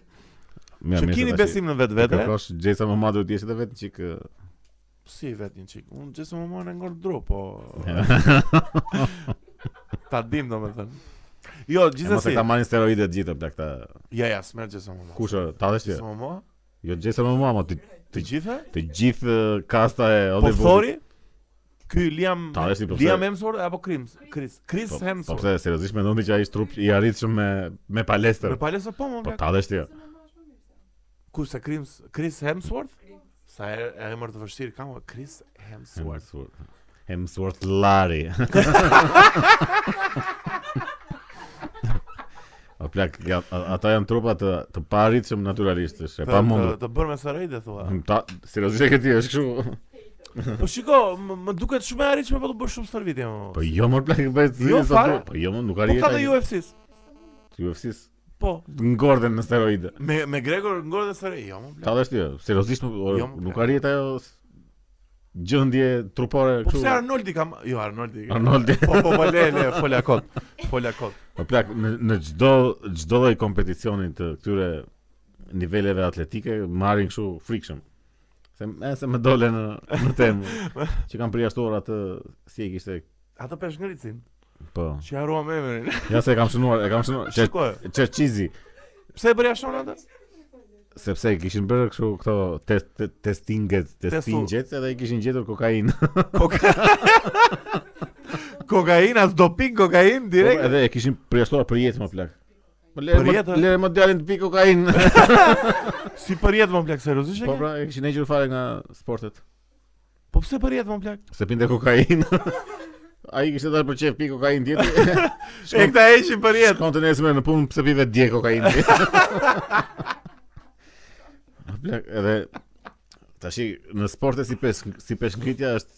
Mirë, që mirë, keni se tash- besim në vetvete. Kërkosh Jason Momoan do të jesh edhe vetëm çik ë, Si vetë një çik. Unë Jason Momoa në ngor dru, po. Ta dim domethënë. Jo, e mos e gjithsesi. ta marrin steroide të gjitha bla këta. Ja, ja, smer Jason Momoa. Kush ë, ta dësh ti? Jason Momoa? Jo Jason Momoan, po ti Të gjitha? të gjithë ë, kasta e Po Hollywoodit. thori? Ky Liam Ta është i përse- Liam Hemsworth apo Chris? Chris Chris Po, po Hemsworth. pse seriozisht mendon ti që ai është trup i arritshëm me me palestër. Me palesë po më Po blaq. ta dësh ti. ë. Ku se Chris Chris Hemsworth? Sa e e emër të vështirë kam o, Chris Hemsworth. Hemsworth. Hemsworth Larry. O plak, ja, a- ata janë trupa të, të paritshëm naturalisht, është e Të- pamundur. Hm, Të, të bërë me steroide thua. Ta, seriozisht e ke ti, është kështu. Po shiko, më, më duket shumë e arritshme po të bësh shumë stërvitje. mo. Po jo më plak, bëhet si Jo, sa fare. duhet. Po jo më nuk Po arrihet. ka dhe UFC-s. UFC-s Po, ngorden në steroide. me me Gregor ngor dhe steroide. Jo, më blaq. Ta dash ti, seriozisht nuk o, Jo, më nuk plak. arrihet ajo s- gjendje trupore Po kështu. pse Arnoldi kam Jo, Arnoldi. ka- Arnoldi. Po po po le le, fola kot. Fola kot. Po plak në në çdo çdo lloj kompeticioni të këtyre niveleve atletike marrin kështu frikshëm. Se e, se më dole në në temë që kanë përjashtuar atë si e kishte Ato peshngëricin. po. Që harruam emrin. Ja se e kam shënuar, e kam shënuar Çer- Shikoj. Çerçizi, Pse e bëri ashtu atë? sepse i kishin bërë kështu këto test te- testinget, testingjet edhe i kishin gjetur kokainë. Koka... Kokaina, as doping, kokain Po, direkt. Edhe e kishin përjashtuar për jetë më plak. Po lere Për më jetë- lere më djalin të pi kokainë. Si përjet më plak seriozisht? po Po, pra, e kishin hequr fare nga sportet. po pse përjet më plak? Se pinte kokainë. Ai kishte dalë për çef pi kokainë ditë. E këta heqin përjet. Shkon të nesër në punë pse pi vetë dje kokainë. A blek, edhe tash në sporte si pes si peshngritja është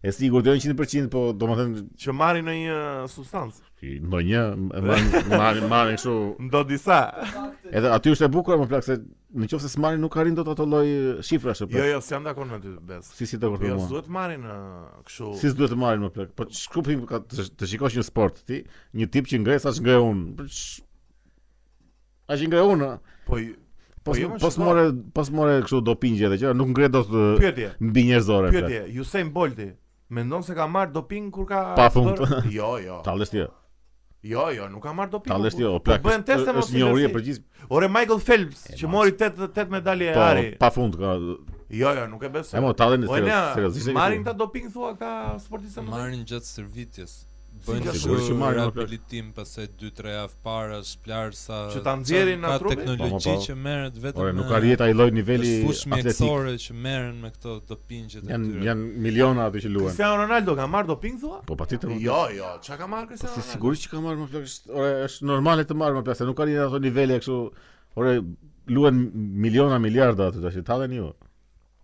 e sigurt jo 100%, po domethënë Që marrin në një uh, substancë. ndonjë e marrin marrin marrin kështu. Ndo disa. Edhe aty është e bukur, më plak se nëse s'marrin nuk arrin dot ato lloj shifrash apo. Jo, jo, s'jam dakord me ty, Bes. Si si do Po kërkoj jo, mua. s'duhet marrin ë, kështu. Si s'duhet të marrin më plak. Po shkupim ka të, të shikosh një sport ti, një tip që ngrej sa ngrej unë. Po ç- A që ngrej unë? a? Po i- Po Po jo, s- më po shiko. s'more po s'more kështu do pingje dhe gjëra, nuk ngrej dot ë, pyetje. mbi njerëzore më plak. Pyetje, Usain Bolti mendon se ka marr doping kur ka Pa fund. bërë- Jo, jo. Tallesh ti. Jo, jo, nuk ka marr doping. Tallesh ti, po- o po plak. Bëhen teste mos Është një uri e njësi. përgjithshme. Ore Michael Phelps E, që mos. mori 8 8 medalje e Po, ari. pa fund ka. Jo, jo, nuk e besoj. E mo tallen Po e nea, seriozisht. e ke marrin thënë. ta doping thua ka sportistë më. Marrin gjatë stërvitjes. Si Bëjnë ka si sigurisht që marrin, më plak. rehabilitim pastaj 2-3 javë para, shplarsa. Që ta nxjerrin nga ka trupi? Po, teknologji po, po. që merret vetëm. Ore, nuk me- arrihet ai lloj niveli është fushë atletik. mjekësore që merren me këto dopingjet e Jan tyre. janë miliona aty që luajnë. Cristiano Ronaldo ka marr doping thua? Po patjetër. më plak. Jo, jo, çka ka marr Po Cristiano? si Ronaldo? sigurisht që ka marrë më plak, është- ore është normale të marrë më plak, se nuk arrin ato nivele kështu. Ore luan miliona miliarda aty tash, tallen ju. jo.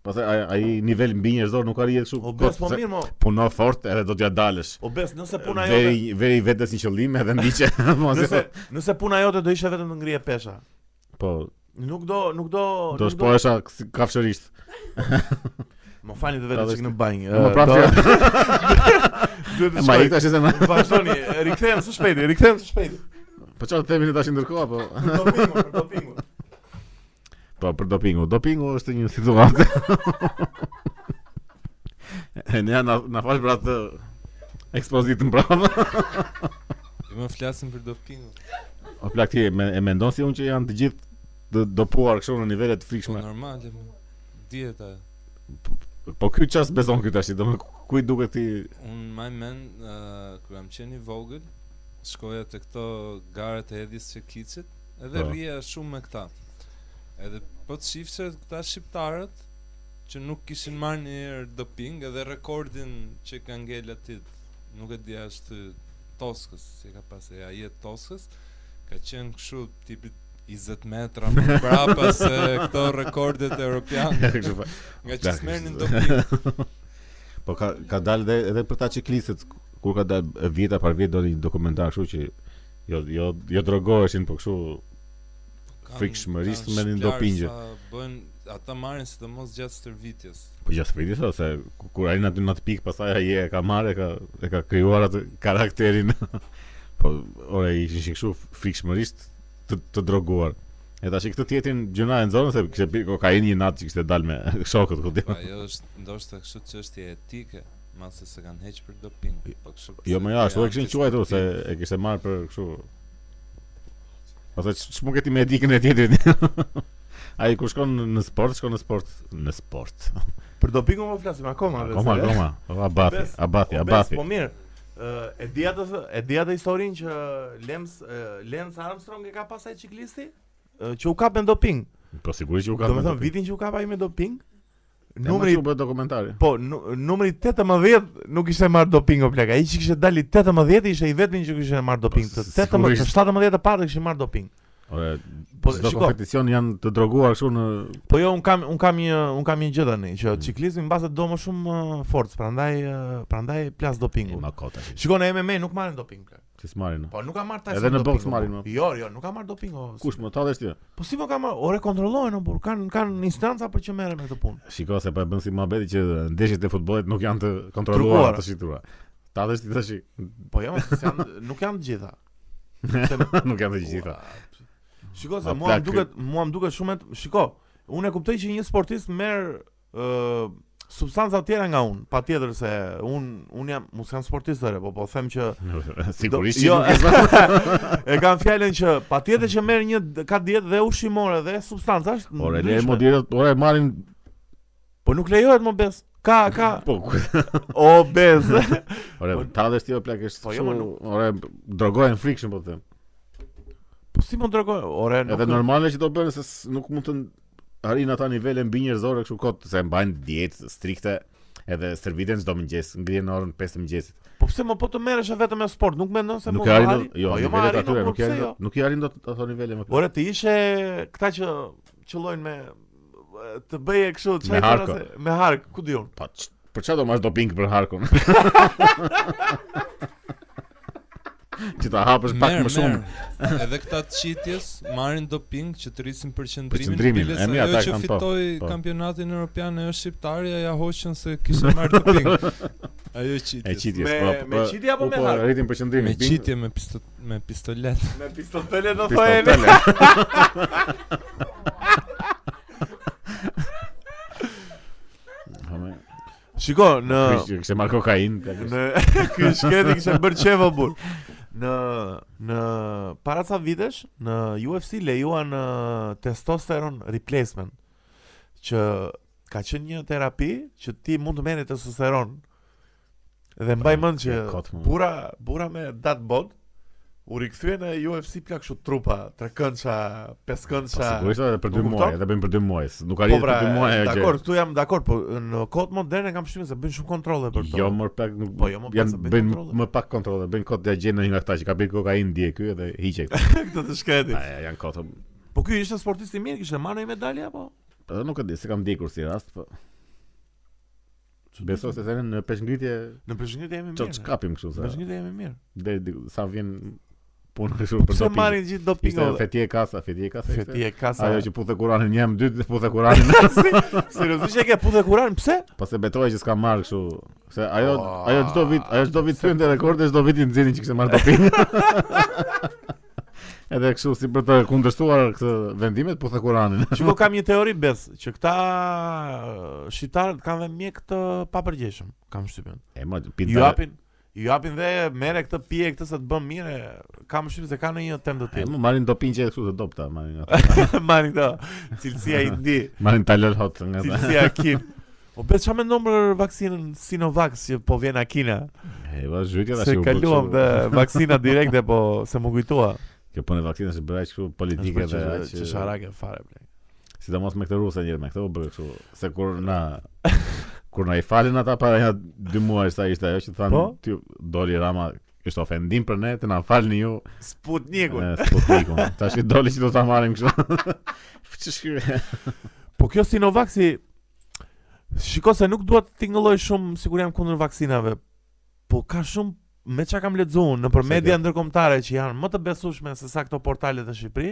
Pastaj ai ai nivel mbi njerëzor nuk arrin kështu. O bes po mirë mo. Puno fort edhe do t'ja dalësh. O bes nëse puna jote, Veri veri vetes një qëllim edhe ndiqe. mos e- nëse nëse puna jote do ishte vetëm të ngrihej pesha. Po, Nuk do, nuk do, do Po, nuk do. shpohesha si- kafshërisht. Më falni të vetë Tadhe çik në banjë. Më prapë. Duhet të Ma shkoj. ik tash se më. Vazhdoni, rikthem së shpejti, rikthem së shpejti. Po çfarë themin tash ndërkohë po. Për dopingun, për dopingun. Po për dopingu. Dopingu është një situatë. e ne na na fal për atë ekspozitën brava. Ju më flasin për dopingun. O plak ti e me, e mendon si unë që janë të gjithë të dopuar kështu në nivele të Po frikshme. normale. mo. Dieta. Po ky çast beson ky tash, domun ku i duket ti Unë maj men, uh, kër jam qeni vogël, shkoja të këto garët e hedhjes që kicit, edhe Po. rria shumë me këta. Edhe po të shifse këta shqiptarët, që nuk kishin marrë një herë doping, edhe rekordin që ka ngel atit, nuk e dija është Toskës, si e ka pas e ajet Toskës, ka qenë këshu tipi 20 metra më prapa se këto rekordet europiane, kështu fa- nga që Plak, s'merrnin është- doping. Po ka ka dalë edhe edhe për ta çiklisët kur ka dalë vjeta par vjet doli një dokumentar kështu që jo jo jo drogoheshin po kështu Kanë- Frikshmërisë kanë me një shpjarë dopingje. sa Bën ata marrin sidomos gjatë stërvitjes. Po gjatë spiritit ose ku- kur ai na në atë pikë pastaj ai e ka marrë e ka e ka krijuar atë karakterin. po ora ishin shi kështu frikshmërisht të të droguar. E tash i këtë tjetrin gjëna e nxorën se kishte pirë kokainë një natë që kishte dalë me shokët ku Po diun. ajo është ndoshta kështu çështje etike, ma se se kanë heq për doping. Po kështu. Jo më jashtë, u e kishin janë quajtur se anti-doping. e kishte marrë për kështu. Pastaj ç- ç'mund ti me edikën e tjetrit. Ai kur shkon në sport, shkon në sport, në sport. Për dopingun po flasim akoma. Akoma, vetë, akoma. Abathi, Bes, abathi, O, bes, abathi. Po mirë. ë, E dia të e dia të historinë që Lems ë, Lance Armstrong e ka pasaj ciklisti ë, që u kap me doping. Po sigurisht që u ka. Do me me thënë doping. vitin që u kap ai me doping, Numri numri i bëhet dokumentari. Po, nu- numri 18 nuk ishte marr doping o plak. Ai që kishte dalë i 18 ishte i vetmi që kishte marr doping. Të s- 18, të Po, sigurisht. 17 e parë kishin marr doping. Ore, Po, po çdo shiko. kompeticion janë të droguar kështu në Po jo, un kam un kam një un kam një gjë tani që Mm. ciklizmi mbase do më shumë uh, forcë, prandaj uh, prandaj plas dopingun. ma kota. Shikon në MMA nuk marrin doping plak. Ti s'marrin. Po nuk ka marr Tyson. Edhe në boks doping, o, marrin, po. mo. Jo, jo, nuk ka marr doping. O, s- Kush më tallesh ti? Po si po ka marr? Ore kontrollojnë, o, por kanë kanë instanca për që merren me këtë punë. Shiko se po e bën si muhabeti që ndeshjet e futbollit nuk janë të Trukuara. kontrolluara të shitura. Tallesh ti tash, Po jo, se janë nuk janë të gjitha. Se nuk janë të gjitha. Ua, Shiko se Ma mua plak më duket, mua më duket shumë, e- shiko, unë e kuptoj që një sportist merr ë substanca tjera nga unë, pa tjetër se unë unë jam, mos jam sportist ore, po po them që Sigurisht Do- që jo, nuk e e kam fjallin që pa tjetër që merr një, d- ka dietë dhe ushqimore dhe substanca është Ore, le ndryshme. mo direkt, ore marrin Po nuk lejohet më bes, ka, ka, po. ku- o bes, Ore, Po- tallesh ti o plak është. Po Po, jo, jo, ma nuk- ore drogohen frikshëm po të them. Po si mund tregoj? Ore, nuk. Edhe normale që do bënë se s- nuk mund të n- arrin ata nivele mbi njerëzore kështu kot se mbajnë dietë strikte edhe serviten çdo mëngjes, ngrihen në orën 5 të mëngjesit. Po pse më po të merresh vetëm me sport? Nuk mendon se Nuk mund i të arrin arri? dot, jo, Po, jo më nivelet arri, atyre, po nuk i pse arrin jo? dot, nuk i arrin dot ato nivele më. Ore, ti ishe këta që qëllojnë me të bëje kështu çaj harko. me hark, ku diun. Po, ç- për çfarë do marrësh doping për harkun? që ta hapësh pak Merr, më shumë. merr. Edhe këta të qitjes marrin doping që të rrisin përqendrimin Përqendrimin, piles, e mirë, ajo ata që kanë po, fitoi po. kampionatin evropian ajo shqiptarja ja hoqën se kishte marrë doping. Ajo E qitjes. qitjes, Me- po. me po, qitje apo u me po hark? Rritin përqendrimin. Me bing, qitje me pisto, me pistolet. Me pistotele do pistole. thojeni. Ha, me- Shiko, në Kishte kishte marrë kokainë. ka kishte- në ky shketi kishte bërë çe vëbur. Në në para ca vitesh në UFC lejuan ë, testosteron replacement që ka qenë një terapi që ti mund të merri testosteron. Dhe mbaj mend që Pra, e kot, mo. bura bura me dat bod u rikthye në UFC plak kështu trupa, trekëndsha, Po peskëndsha. sigurisht edhe për 2 Nuk kupton? muaj, edhe bëjmë për 2 muaj. s- Nuk Po arrin pra, për 2 muaj ajo gjë. dakor, këtu jam dakor, po në kohët moderne kam shtymin se bën shumë kontrolle për to. Jo, më pak nuk Po, jo, më pak, janë se bëjnë bëjnë kontrolle. më pak kontrolle, bëjnë kot ja gjen ndonjë nga këta që ka bërë kokainë dje ky edhe hiqe. këtu. këtë të shkëti. Ai janë kot. Po ky ishte sportist i mirë, kishte marrë një medalje apo? Edhe nuk e di, se kam ndjekur si rast, po besoj se tani në peshngritje Në përshëngritje jemi çot mirë. kapim kështu Në sa. përshëngritje jemi mirë. Deri diku- sa vjen punë kështu për Pse doping. marrin gjithë Ishte dopingo? fetje kasa, fetje kasa. ishte. Feti e kasa. Ajo që puthe Kur'anin një më dytë, puthe Kur'anin. seriozisht e ke puthë Kur'an, pse? Pas e betoja që s'ka marrë kështu. Se ajo Oa, ajo çdo vit, ajo çdo vit thynte rekorde, çdo vit i nxjerrin që kishte marrë doping. Edhe kështu si për të kundërshtuar këtë vendimet, puthe Kur'anin. Shiko kam një teori bes, që këta eh, shqiptarët kanë dhe mjek të papërgjeshëm, kam shtypën. E ma Ju pinta. japin Ju japin dhe mere këtë pije këtë se të bën mirë, kam shtypën se kanë një temë të E tillë. më marrin doping që e kështu të dopta, marrin nga. Mani këto Cilësia i ndi Marrin talol hot nga ta. Cilësia kim O bes qa mendon për vaksinën Sinovac që po vjen Akina E va zhytja tash Se u bë. kaluam kështu. dhe vaksina direkte po se më kujtua Kjo punë e vaksinës bëra kështu politike Është dhe për aq. që sharake fare ble Sidomos me këtë rusë njërë me këtë u bërë kështu Se kur na Kur na i falin ata para një dy muaj sa ishte ajo që thanë Po? ty doli Rama është ofendim për ne të na falni ju Sputnikun e, Sputnikun Tash i doli që do ta marrim kështu Që shkyre Po kjo Sinovac si Shiko se nuk duhet të tingëlloj shumë Sigur jam kundër vaksinave Po ka shumë me çka kam lexuar nëpër Se media kjo- ndërkombëtare që janë më të besueshme se sa këto portalet në Shqipëri,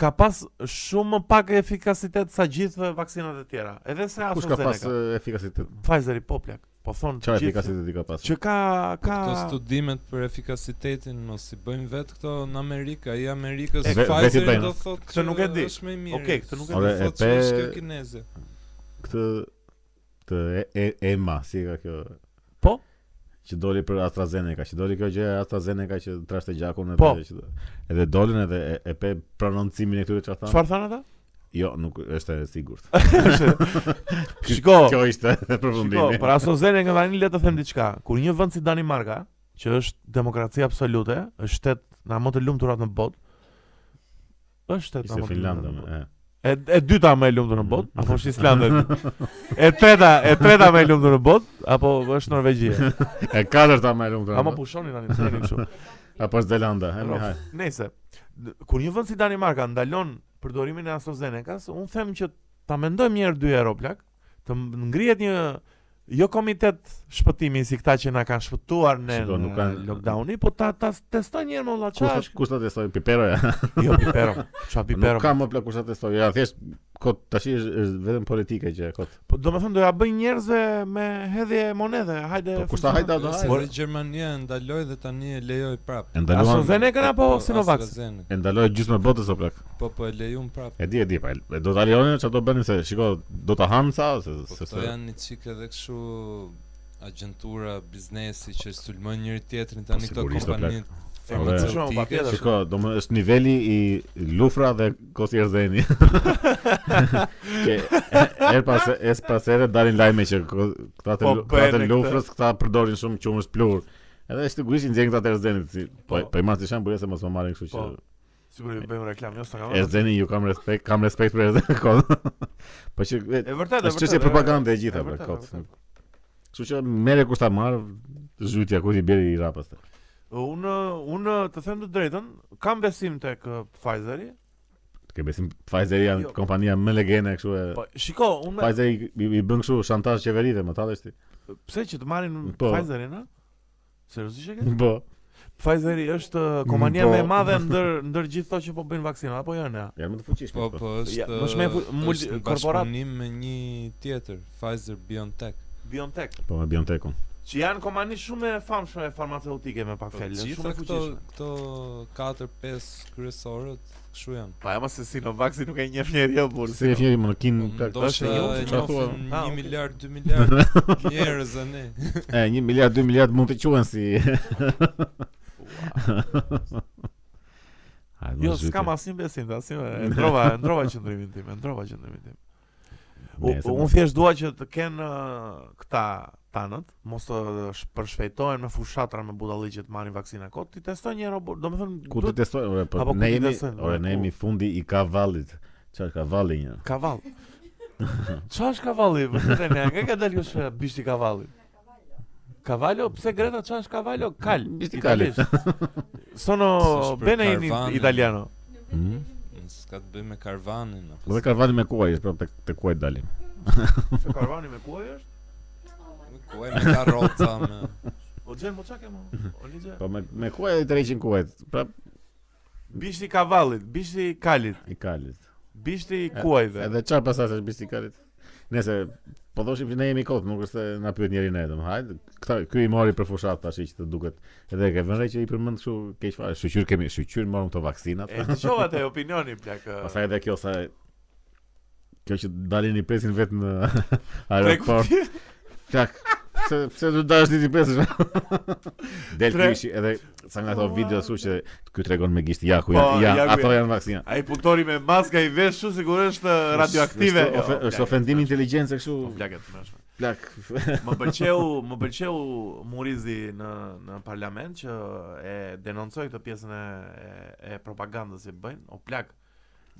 ka pas shumë më pak efikasitet sa gjithë vaksinat e tjera. Edhe se Kush ka AstraZeneca. pas e, efikacitet Pfizeri po plak. Po thon Çfarë efikacitet i ka pas që ka ka Po Këto studimet për efikasitetin mos i bëjmë vetë këto në Amerikë, ai i Amerikës E, Pfizer vetë i bëjnë. do thotë Këtë nuk e di. Është më i mirë. Okej, këtë nuk e di. Ore, Thotë e që pe- është kjo kineze. Këtë Të e- e- EMA Si e ka kjo Po? Që doli për AstraZeneca Që doli kjo gjë e AstraZeneca Që trashte gjakun edhe Po. që, Edhe dolin edhe e, e pe prononcimin e këtyre çfarë thanë çfarë than ata? Jo, nuk është e sigurt Shiko. Kjo ishte Po. Shiko, po, përfundimi. për AstraZeneca tani le të them diçka. Kur një vend si Danimarka, që është demokraci absolute, është shtet nga më të lumturat në botë, është shtet nga Ishte më të Finlanda. lumturat në botë. me, e. E, e dyta më e lumtur në botë, apo është Islanda? e treta, e treta më e lumtur në botë, apo është Norvegjia? E katërta më e lumtura. Ama pushoni tani, pse jeni kështu? apo është Zelanda. E mi Rof. haj. Nëse d- kur një vend si Danimarka ndalon përdorimin e AstraZenecas, unë them që ta mendojmë një herë dy herë o plak, të m- ngrihet një jo komitet shpëtimi si këta që na kanë shpëtuar në, Shiko, nuk në kanë- lockdowni, po ta ta testoj një herë më valla Kush ta- çfarë. kush ta testoi Pipero? ja? Jo Pipero, ç'a Pipero. Nuk ka më plak kush ta testoi. Ja thjesht kot tash është është vetëm politike që e kot. Po do të thonë doja bëj njerëzve me hedhje monedhe, hajde. Po kush ta hajta do Se haj. dhe Gjermania e ndaloi dhe tani e lejoi prap. E ndaluan. AstraZeneca apo Sinovac? AstraZeneca. E ndaloi gjysmë botës o plak. Po po e lejon prap. E di e di, pa. e Do ta lejonin çfarë do bënin se shiko, do ta hanë sa se Po se këto janë një çik edhe kështu agjentura, biznesi që sulmojnë njëri tjetrin Po, tani këto sigurisht, o kompani shumë, pa farmaceutike. tjetër. Shiko, do më është niveli i lufra dhe kosi erzeni Që er pas es pas ere dalin lajme që ko- këta të, Po lu- bëhen këta të e këtë. lufrës këta përdorin shumë qumësh plur. Edhe sigurisht i nxjerrin këta të erzenit si po Po. po i marr si shembull se mos më marrin kështu që Po. Sigur i bëjmë reklam, jo s'ta kam. marrë. Erzeni ju kam respekt, kam respekt për Erzen kot. po që e, E vërtet, e është çështje e- propagande e gjitha e për vërtet, e kot. vërtet. Kështu që merre kur ta marr zhytja ku ti bjerë i rapës. Unë, unë të them të drejtën, kam besim tek ë, Pfizeri. Ke besim Pfizer janë Jo. kompania më legjende kështu e Po, shiko, unë Pfizer i, i, i bën kështu shantazh qeverive, më tallësh ti. pse që të marrin Po. Pfizerin, ha? Seriozisht e ke? Po. Pfizeri është ë, kompania më e Po. madhe ndër ndër gjithë ato që po bëjnë vaksinat apo jo ne? Janë më të fuqishme. Po, po, është, Ja, më shme fu- mul- është në korporat- bashkëpunim me një tjetër, Pfizer BioNTech. BioNTech, Po me BioNTech-un. që janë kompani shumë e famshme farmaceutike me pak Po, fjalë, gjitha shumë e këto, fuqishme. këto 4-5 kryesorët, këshu janë. Pa, ama se Sinovac nuk e njeh njeri jo burr. Si e fjeri më në kin Po, plak. Ndoshta jo, e çfarë thua? njofin Ah, 1 okay. miliard, 2 miliard njerëz e ne. E 1 miliard 2 miliard mund të quhen si. Hajde, Jo, mos zhytje. s'kam asnjë besim, asnjë. e Ndrova, e ndrova qëndrimin tim, e ndrova qëndrimin tim. U- Nese, mos- u- Po, Unë thjesht dua që të kenë ë, këta tanët, mos të sh- përshpejtohen me fushatra me budalliqe të marrin vaksina kot, ti testojnë një robot, domethënë Ku të testojnë? Ore, Apo po ku ne ti jemi, testojnë? ore, ne Ku? jemi fundi i kavallit. Çfarë kavalli një? kavall. Çfarë është kavalli? Vërtet ne nga ka dalë kjo bishti kavalli. Cavallo, pse Greta çfarë është Cavallo? Kal. Bishti kali. italisht. Se Sono është për bene in karvanin. italiano. Hmm? Mhm. S'ka të bëj me karvanin apo. Po dhe kavalli me kuaj, është prapë te kuaj dalim. Se karvani me kuaj është? Me kuaj me karroca me. O gjen mo çka mo? O ligje. Po me me kuaj pra, i tërheqin kuajt, prapë Bishti kavallit, bishti kalit, i kalit. bishti kuajve. Edhe çfarë pasaj është bishti i kalit? Nëse po thoshim që ne jemi kot, nuk është se na pyet njëri ne, dom. Hajde, këta ky i mori për fushat tash që të duket. Edhe e ke vënë re që i përmend kështu keq fare, shqyr kemi, shqyr morëm këto vaksinat. E dëgjova te opinioni plak. ë, Pastaj edhe kjo sa kjo që dalin i presin vetë në Treku aeroport. ti- Plak. Pse pse do dash ti ti pesësh? Del Tre- kishi edhe sa nga ato video ashtu që ky tregon me gisht ja ku Po, janë, ja, ja ku ato janë. janë vaksina. Ai puntori me maska i vesh shu sigurisht ë, radioaktive. Është ofe- Jo, Është plak, ofendim inteligjencë kështu. Po, Plak e të mëshme. Plak. Më pëlqeu, më pëlqeu Murizi në në parlament që e denoncoi këtë pjesën e e, e propagandës që bëjnë. O plak.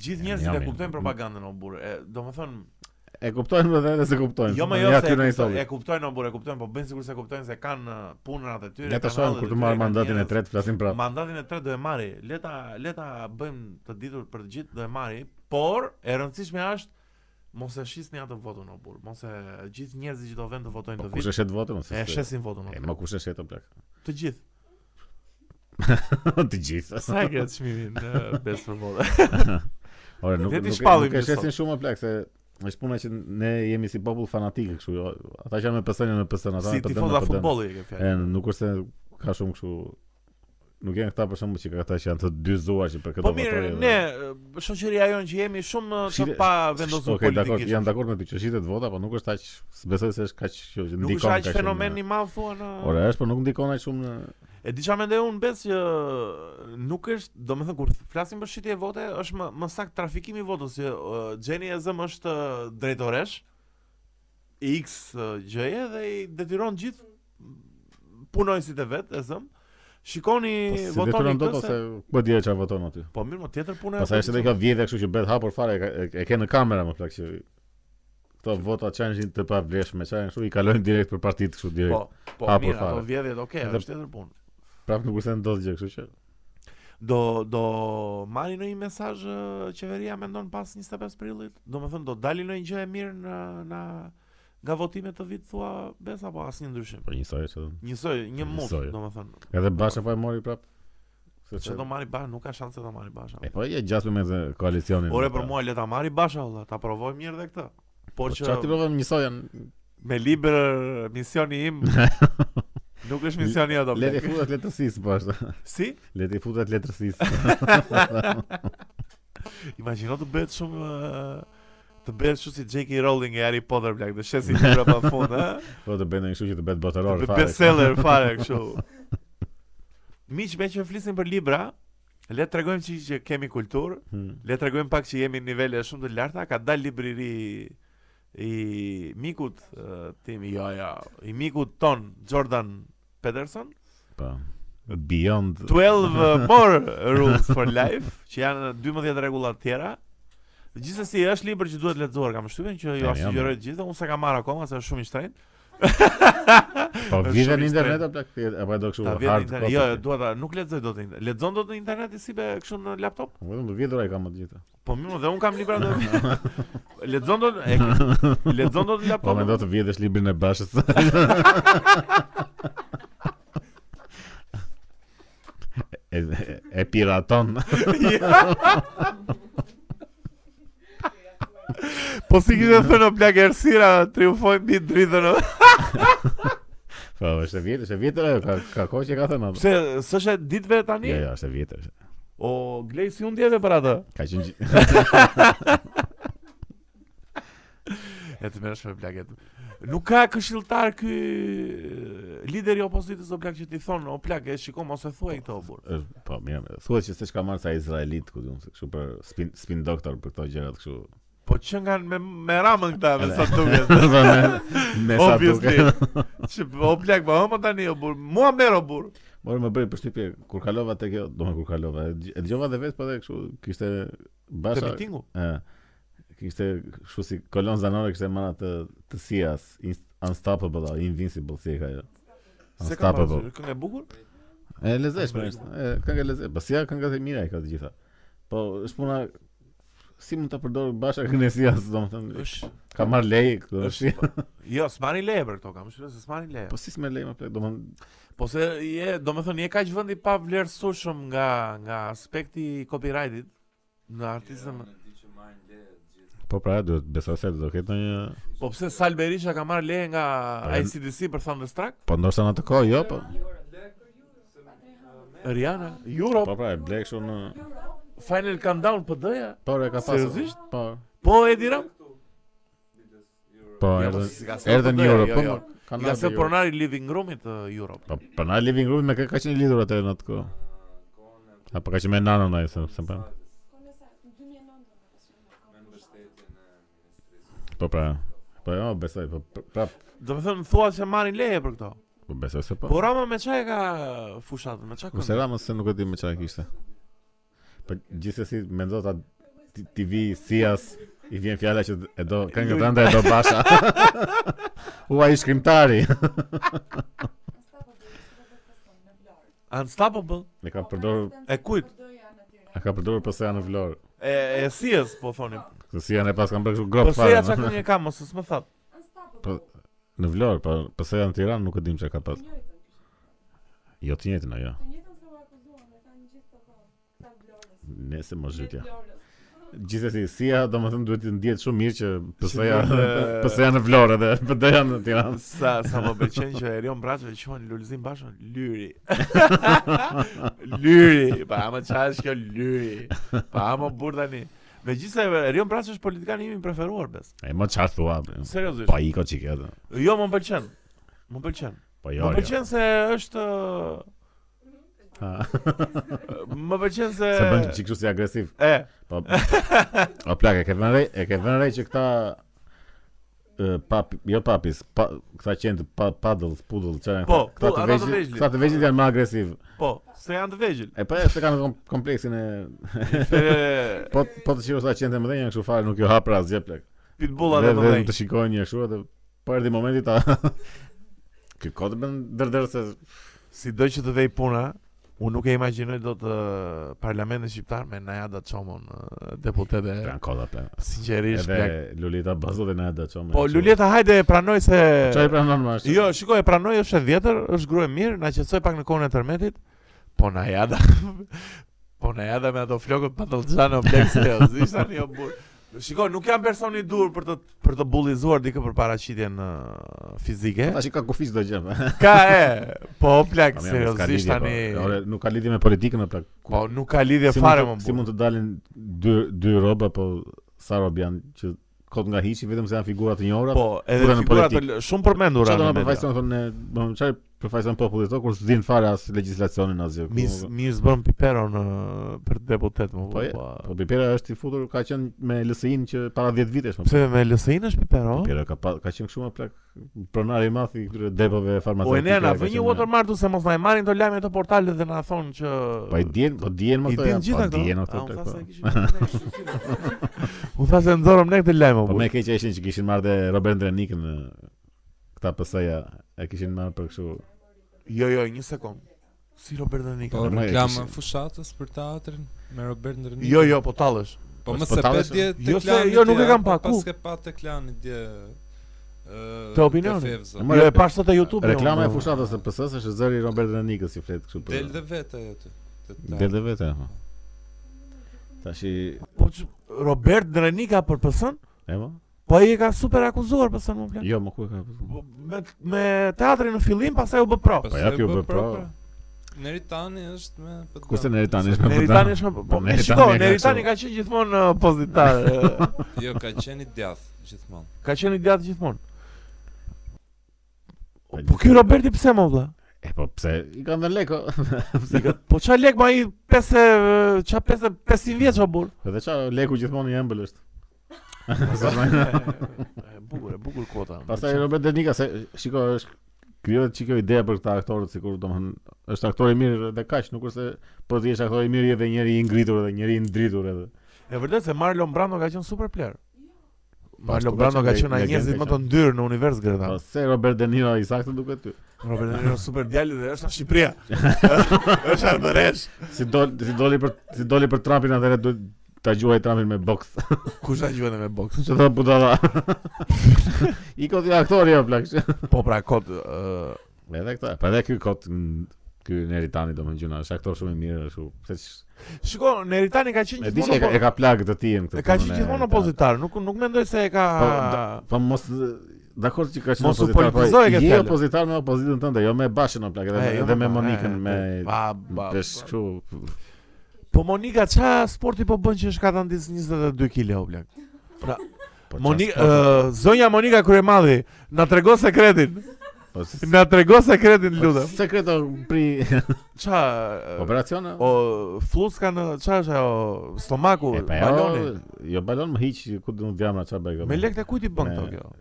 Gjithë Ja, njerëzit e jam- kuptojnë propagandën o burr. E, Domethënë, E kuptojnë edhe edhe se kuptojnë. jo më jo Po, ja se ty në e kuptojnë- histori. e kuptojnë o burr, e kuptojnë, po bëjnë sigurisht se kuptojnë se kanë ë, punrat e tyre. Ne të kanë shohim hallet kur e të tyre, marr kanë mandatin e njerëz. tretë, flasim pra, prapë. Mandatin e tretë do e marri. Le ta le ta bëjmë të ditur për të gjithë do e marri, por e rëndësishme është mos e shisni atë votën o burr, mos e gjithë njerëzit që do vënë të votojnë Po të kush e vit. shet votën ose? E se- shesin votën. o E burr. më kush e shet o plak. Të gjithë. Të gjithë. Sa e ke çmimin në best për votë? Ore, nuk Le nuk, t'i nuk, shpallim nuk e një shesin shumë o plak se është puna që ne jemi si popull fanatik kështu. jo. Ata që janë me PS-n janë me PS-n, ata Si janë të dënë me tifoza të dënë. futbolli e ke E fjalë. nuk është se ka shumë kështu nuk janë këta për shembull që ka ata që janë të dy zuar që për këtë Po mirë, ne e, shoqëria jonë që jemi shumë e, të Shite- pa vendosur okay, dakor, politikisht. jam dakord me ty që shitet vota, po nuk është aq, besoj se është kaq që që Nuk ndikon është kaq aq shumë fenomen në- i madh thua në. Ora, është, po nuk ndikon aq shumë në E di çfarë mendoj unë bes që nuk është, domethënë kur flasim për shitje vote është më më sakt trafikimi i votës që e, gjeni e zëm është e, drejtoresh i X e, gjëje dhe i detyron gjithë punojësit e vet e zëm. Shikoni po, si votoni detyron dot këtë se- ose po di çfarë voton aty. Po mirë, më tjetër puna Pastaj është edhe politikës. kjo vjedhja kështu që bëhet hapur fare, e ka- e- e ke në kamera më plak që këto vota çan janë të pavleshme, çan janë kështu i kalojnë direkt për partitë kështu direkt. Po, po hapur mirë, fare. ato vjedhjet, okay, Edhe- është tjetër punë. Prap nuk kurse ndodh gjë, kështu që Do do marri ndonjë mesazh ë, qeveria mendon pas 25 prillit? Domethënë do dali ndonjë gjë e mirë në na nga votimet të vit thua bes apo asnjë ndryshim? po njësoj që do. Njësoj, një mut, Njësoj. domethënë. Edhe Basha po e mori prap. Se Çe do marri Basha, nuk ka shanse ta marri Basha. E po e gjasme me të koalicionin. Ore për mua le ta marri Basha valla, ta provoj mirë dhe këtë. Po Por çfarë ti që provon njësoj janë. me liber misioni im nuk është misioni ato. Le të plek. futet letërsisë po ashtu. Si? Le të futet letërsisë. Imagjino të bëhet shumë ë, të bëhet shumë si J.K. Rowling e Harry Potter blak, të shesi libra pa fund, ë? Po të bëjnë kështu që të bëhet botëror Të fare. bestseller fare kështu. Miq, me që flisim për libra, le të tregojmë që, që kemi kulturë, Hmm. le të tregojmë pak që jemi në nivele shumë të larta, ka dalë libreri i mikut uh, tim, jo, jo, i mikut ton Jordan Peterson, Po. Beyond 12 more rules for life, që janë 12 rregulla të tjera. Gjithsesi është libër që duhet lexuar, kam shtypën që ju Ja, jam. sugjeroj të gjithë, unë s'e kam marr akoma se është shumë i shtrenjtë. Po Është vjen shumë në i internet apo plak thjet- apo e do kështu Ta vjen në hard internet. copy? Jo, jo, dua ta nuk lexoj dot në internet. Lexon dot në internet i si be kështu në laptop? Po, Vetëm vjetur ai kam atë gjithë. Po mirë, dhe un kam libra dot. Lexon dot e ke- lexon dot në Po laptop. mendo të vjedhësh librin e bashës. e, e- e piraton. Jo. Po si kishte thënë o plak Ersira, triumfojmë mbi dritën. o. Po është e vjetër, është e vjetër ajo, ka ka kohë që ka thënë atë. Pse s'është e ditëve tani? Jo, jo, është e vjetër. është- O Glejsi unë djeve për atë. Ka qenë gji- E të merresh me plaket. Nuk ka këshilltar ky lideri i opozitës o plak që ti thon, o plak e shikoj mos e thuaj këto burr. është po mirë. mirë. Thuhet që s'e ka marrë sa izraelit, ku diun, se kështu për spin spin doktor për këto gjëra të kështu. Po që nga me, me ramën këta me sa duket. Po, me me sa Obviously. duket. Që o plak ma hëmë tani o burr. Mua merr o burr. Morë më bëri përshtypje kur kalova te kjo, do më kur kalova. e dgj- E dëgjova dhe vetë po dhe kështu kishte Te basha. mitingu. Ë. Kishte kështu si kolon zanore kishte marrë atë të Sias, Inst- Unstoppable, o Invincible si e ka ajo. Se ka Unstoppable. pasur këngë e bukur? E lezeshme është. E kënga e lezeshme. Po si kënga e mira e ka të gjitha. Po është puna si mund ta përdor basha këngën e Sias, domethënë Është ka marr lej këtu. është Jo, s'mani leje për këto, kam shpresë se s'mani leje. Po si s'me lej më plot, domethënë Po se je, do me thënë, je kaq vënd i pa vlerësueshëm nga, nga aspekti i copyrightit në artistën. po pra duhet besoj se do ketë një Po pse Sal Berisha ka marrë leje nga Po, e- ICDC për Thunderstruck? po ndoshta në atë kohë jo po. Rihanna, Europe, Po pra e blej kështu në Final Countdown PD-ja. Po e ka pasur. Seriozisht? Po. Po Edi Ram, Po, Jo, po, erdhën si ka se erdhën po në doja, Europë. jo, po, jo. mo, kanë i ka ardhur se në Europë. pronari Living Roomit të Europe. Po, po na living room me kë ka qenë lidhur atë në atë kohë. Apo ka qenë me nanën ai, se se pa. Po pra. Po jo, besoj, po pr- prap, Do me thënë, thua se marrin leje për këto. po besoj se po. Po Rama me çaj ka fushatën, me çaj Kurse këngë. Rama se nuk e di me çfarë kishte. Po gjithsesi mendo ta ti- TV Sias i vjen fjala që e do këngën tënde e do Basha. Ua i shkrimtari. Unstoppable. E ka përdorur, E kujt? e ka përdorur pse janë në Vlorë. E, e sies, po thoni. Se si janë e pas kanë bërë kështu grop Po se ja më. çaj këngë ka, mos s'më thatë. Në Vlorë, po pse janë në Tiranë nuk e dim çka ka pas. Jo të njëjtën ajo. Nëse më zhytja. Gjithsesi, Sia domethënë duhet të ndihet shumë mirë që pse ja duhet, e, pse janë në Vlorë dhe pse janë në Tiranë. Sa sa më pëlqen që Erion Braço e quajnë Lulzim Bashën Lyri. lyri, pa ama çfarë është kjo Lyri? Pa ama burr tani. Megjithëse Erion Braço është politikani im i preferuar bes. E më çfarë thua? bre? Seriozisht. Pa iko çike atë. Jo, më pëlqen. Më pëlqen. Po Më jo. jo. pëlqen se është Ha, më pëlqen se Se bën çik kështu si agresiv. E, Po. O plak, e ke vënë re, e ke vënë re që këta e, pap, jo papis, pa, këta qenë të pa, paddles, puddles, çfarë janë Po, këta? këta po, ata të të vegjël, vegjlit. këta të vegjël janë më agresiv. po, se janë të vegjël. E pa, se kanë kom- kompleksin e Se po po të shikosh sa qenë të mëdhenj janë kështu fare nuk ju hap asgjë plak. Po, pitbullat Dhe- e vetëm mëdhenj. të shikojnë një kështu atë po erdhi momenti ta Ky kod bën dërdër se Si do që të vej puna, unë nuk e imagjinoj dot ë, parlamentin shqiptar me Najada Çomon, ë, deputete janë koda plan. Sinqerisht, plak. Edhe Lulita Bazo dhe Nada Çome. Po Luleta hajde e pranoj se çfarë pranon më ashtu? Jo, shikoj e pranoj është e vjetër, është grua e mirë, na qetësoi pak në kohën e tërmetit. Po na jada. po na jada me ato flokët patallxhano blek jo, seriozisht tani o burr. Shikoj, nuk jam person i dur për të për të bullizuar dikë për paraqitjen ë, fizike. tash i ka kufiz çdo gjë. po. Ka e, po plak Po, mirë, s'ka seriozisht lidhje, po. tani. Ore, nuk ka lidhje me politikën apo Po nuk ka lidhje si fare mund më të- Si burr. mund të dalin dy dy rroba po sa rob janë që kot nga hiçi vetëm se janë figura të njohura. Po, edhe figura në figurat politik. të- shumë përmendura çfarë do në na media. përfaqëson thonë ne, do të çfarë përfaqëson populli to kur s'din fare as legjislacionin asgjë. Mis Po, mirë zbën Pipero në për deputet më Po, vonë. e, Po, Po Pipera është i futur ka qenë me LSI-n që para 10 vitesh. më. pse po? me LSI është Pipero? Pipera ka pa, ka qenë shumë plak pronar i madh i këtyre depove O e farmaceutike. ne na ka vë një qenë- Po, watermark se mos na e marrin këto lajme këto portale dhe na thonë që Po i dien, po dien më I këto. din ja, gjitha Po këto. dien A, këto. unë plak, thasë po. se kishim Unë thasë nxorëm ne këtë lajm Po apo. më keq ishin që kishin marrë dhe Robert Drenikën në këta PS-ja e kishin marrë për kështu. Jo, jo, një sekond. Si Robert Danika. Po, Po e reklama kishin. fushatës për teatrin me Robert Ndërnik. Jo, jo, po tallesh. Po Po më s'po se ta pe vesh- dje te Jo, se- klani jo, nuk e dje, kam po pa, ku? Pas ke pa te klani dje. ë, Te opinioni? Fevza. Ma- Jo, po. e pash sot te YouTube. Reklama unë, e fushatës së PS-së është zëri i Robert Drenikës si flet kështu për. Del dhe vetë ajo ti. te teatri. Del dhe vetë. aha. Tash i Po që- Robert Drenika për PS-n? e mo? Po ai e ka super akuzuar PS-n më plan. Jo, më ku e ka. Po, Me me teatrin në fillim, pastaj u bë pro. Pas Po se jap ju bë bë pro. pra. Neritani është me për të Kurse dhënë. në tani është me Po, Neritani është më po. Neritani Shiko, e ka Neritani kështu. ka qenë gjithmonë uh, pozitar. uh, Jo, ka qenë i djath gjithmonë. Ka qenë i gjatë gjithmonë. Ka Po ky gjithmonë. Roberti pse më vlla? E po pse i kanë dhënë leko? I ka- Po qa lek ma i 5 qa 5 500 vjeç o burr. Edhe çfarë leku gjithmonë i ëmbël është. E bukur, e bukur kota. Pastaj Robert Drenika se shiko është krijohet çikë ideja për këta aktorët sikur domthon është aktor i mirë dhe kaq, nuk është se po ti je aktor i mirë je edhe njëri i ngritur edhe njëri i ndritur edhe. E vërtet se Marlon Brando ka qenë super player. ashtu Marlon ka Brando ka qenë qenë ai legendë njerëzit ka më të ndyrë në univers Po gretan. se Robert De Niro i saktë duket ty. Robert De Niro super djalë dhe është në Shqipëria. Është ardhëresh. Si dol si doli për si doli për Trumpin atëherë duhet ta gjuaj Trumpin me boks. Kush na gjuan me boks? Ço do budalla. I kot i aktori apo plak. Po pra kot ë Edhe këta, pa edhe ky kot m, ky Neritani domthon gjuna, është aktor shumë i mirë ashtu. Se ç- Shiko, Neritani ka qenë e di që e ka- e gjithmonë ka plagë të tij në këtë. e ka punën qenë e gjithmonë Neritani. opozitar, nuk nuk mendoj se e ka Po, da- po mos dakord që ka qenë Mos u opozitar, po politizoj këtë je fjalë. opozitar me opozitën tënde, jo me Bashin apo plak, E, edhe, jo, edhe me po, Monikën e, me ba, ba, Pesh ba. kështu. Po Monika, qa sporti po bën që është ka të ndisë 22 kilo, o blek? Po, Monika, qa s'po- uh, zonja Monika Kryemadhi, na trego sekretin, po, s- na trego sekretin, po, pra- lutem. Sekreto pri Qa, uh, operacione? o, fluska në, qa është ajo, stomaku, E, pa, jo, baloni. Jo balon më hiq ku do të vjamra çfarë bëj. Me lekët e kujt i bën Me- këto kjo?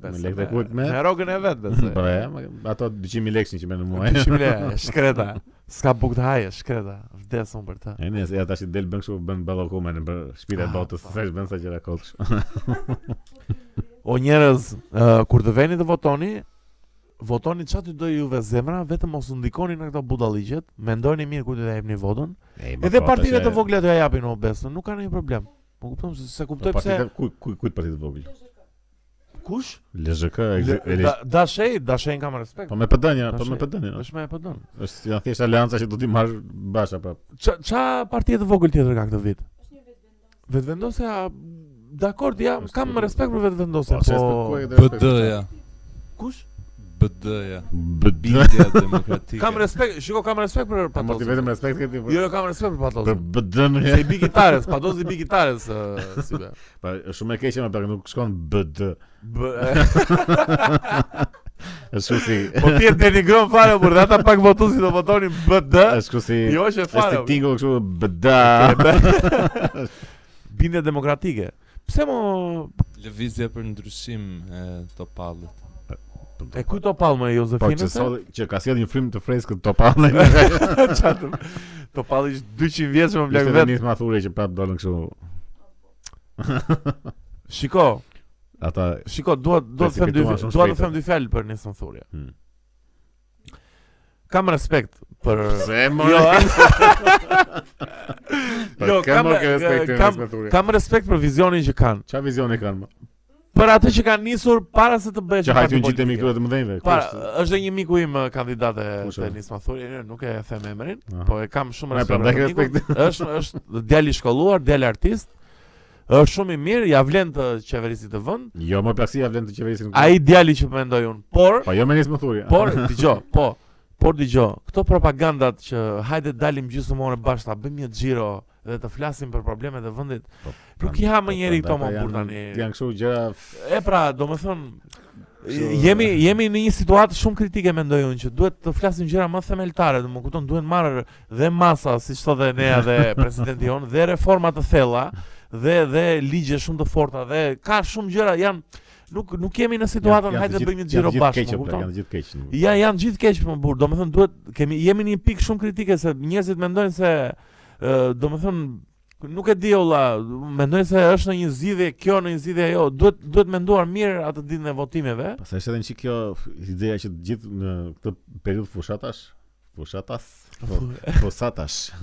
Besa, me lekët e kujt me? Me rogën e vetë, besoj. Po e, ma- ato 200000 lekë që më në muaj. Kishim le, shkreta. S'ka buk të haje, shkreta. Vdes unë për ta. E ne, ja tash i del bën kështu bën ballokume në për shtëpinë e Ah, botës, po. sa bën sa gjëra kot. kështu. O njerëz, ë, kur të veni të votoni, votoni çfarë të dojë juve zemra, vetëm mos u ndikoni në këto budalliqet, mendoni mirë ku do të japni votën. E, ma, Edhe po, partive tash e- të vogla do ja japin o besën, nuk ka ndonjë problem. Po kupton se se Po kuptoj pse partitë ku ku kujt partitë vogël? kush? LZK, Le- e- da- Dashej, dashej kam respekt. po me PD-n, po me Tash e- PD-n. Është më e pëdon. Është janë thjesht alianca që do t'i marr Basha po, prap. Ç ça parti të vogël tjetër ka këtë vit? Vetvendosja Dakor, ja, Është- kam respekt për vetvendosjen, se po... s'përkuaj dhe respekt. BD-ja, Kush? BD-ja, BD. Bidja Demokratike. Kam respekt, shiko, kam respekt për Ta mos i patosën. vetëm respekt këti për Po, Jo, jo, kam respekt për patosën. për BD-n. Se i bi gitares, pa dozi bi gitares uh, si be. Pa është shumë e keqe më pak nuk shkon BD. B Është kështu si po ti e denigron fare por dhe ata pak votuesi do votonin BD. është kështu si Jo që është fare. si tingo kështu BD. burr. Bindje demokratike. Pse mo Lëvizja për ndryshim e Topallit. e kujt o pall me Po Jozefinën? që se? sot që ka sjell një frym të freskët topallë. Çfarë të- To palli ish 200 vjeç më blaq Ishte vet. një mathurje që prap dolën kështu Shiko, ata shiko, dua dua të them dy Precipituan shumë dua të shpejt, them dy fjalë për Nisën Thurje. Hmm. Kam respekt për pse më jo Jo, jo, kam kam- ke respekt kam- kam mathurje. kam respekt për vizionin që kanë. Çfarë vizion e kanë? më? Për atë që kanë nisur para se të bëhet Që hajtu parti gjithë politike. me këto të mëdhenjve. Para, kush- është dhe një miku im eh, kandidat e Kush është? Denis Mathuri, jo, nuk e them emrin, Aha. po e kam shumë Ne, respekt. prandaj për respekt. mikun. Është është djalë i shkolluar, djalë artist. Është shumë i mirë, ja vlen të qeverisit të vend. Jo, më plaksia vlen të qeverisin. Ai djali që mendoj unë. Por, Po jo me nisë më thurje. por dëgjoj, po, por dëgjoj, këto propagandat që hajde dalim gjysmore bashkë ta bëjmë një xhiro dhe të flasim për problemet e vendit. Po, Nuk i ha më njeri Po, këto më prandaj burr janë- tani. Janë kështu gjëra E pra, do me thonë, Kështu- jemi, jemi në një situatë shumë kritike mendoj unë që duhet të flasim gjëra më themeltare, do më kupton, duhet marrë dhe masa, si që dhe nea dhe presidenti jonë, dhe reforma të thella, dhe, dhe ligje shumë të forta, dhe ka shumë gjëra, janë, nuk, nuk jemi në situatën, janë- janë të hajde të gjithë- bëjmë një janë të gjiro gjithë bashkë, keqe, më pra, kupton. Janë të gjithë keq. në- Ja, janë gjithë keq më burr. Domethënë duhet kemi jemi në një pikë shumë kritike se njerëzit mendojnë se ë, domethënë nuk e di olla, mendojnë se është në një zgjidhje kjo, në një zgjidhje ajo. Duhet duhet menduar mirë atë ditën e votimeve. Pastaj është edhe një çik kjo ideja që të gjithë në këtë periudhë fushatash, fushatas, po, fusatash.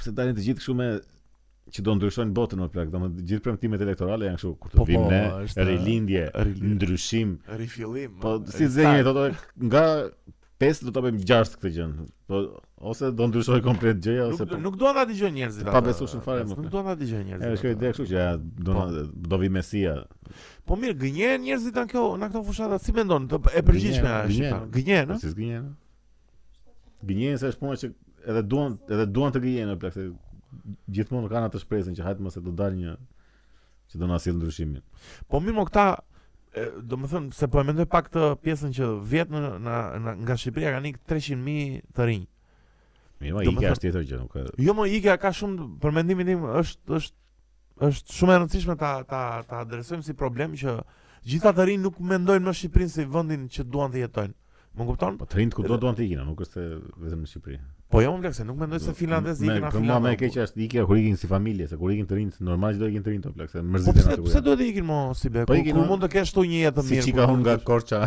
Pse dalin të gjithë kështu me që do ndryshojnë botën më plak, domethënë të gjithë premtimet elektorale janë kështu kur Po, të vim po, ne, është- rilindje, rilindje. ndryshim. Rifillim. Po si zënjë thotë nga 5 do ta bëjmë 6 këtë gjën. Po ose do ndryshoj komplet gjëja ose Nuk, po. nuk duan ta dëgjojnë njerëzit. Pa atë, besueshëm fare, më Nuk thënë. duan ta dëgjojnë Edhe njerëzit. shkoj ide kështu që ja, do na- do vi mesia. Po mirë, gënjen njerëzit në kjo, në këto fushata si mendon? Të, e përgjithshme Gënjen, është. gënjen. shqiptar. Gënjen, Po ëh? si zgjinjen? Gënjen se është puna që edhe duan edhe duan të gënjen plak se gjithmonë kanë atë shpresën që hajtë mos e do dalë një që do na sill ndryshimin. Po mirë, mo këta e, do më thënë, se po e mendoj pak të pjesën që vjetë në, në, në, nga Shqipëria ka nikë 300.000 të rinj. Mirë, ma Do më ikja thënë- është tjetër gjë, nuk Jo, ka. Jo më Ikea ka shumë për mendimin tim është është është shumë e rëndësishme ta ta ta adresojmë si problem që gjithë ata rinë nuk mendojnë më Shqipërinë si vendin që duan të jetojnë. Më kupton? Po të rinë ku do duan të ikin, a, nuk është se vetëm në Shqipëri. Po jo më plak se nuk mendoj se finlandezë Me- ikin na Për mua më e finlandë. keqja është ikja kur ikin si familje, se kur ikin të rinë, normal që do ikin të rinë to plak, se Po mërziten pse atë. pse kur janë. duhet të ikin mo si be? Po Ku ikin, ku mo. mund të kesh tu një jetë të Si mirë. çika ku hun mund nga të- Korça.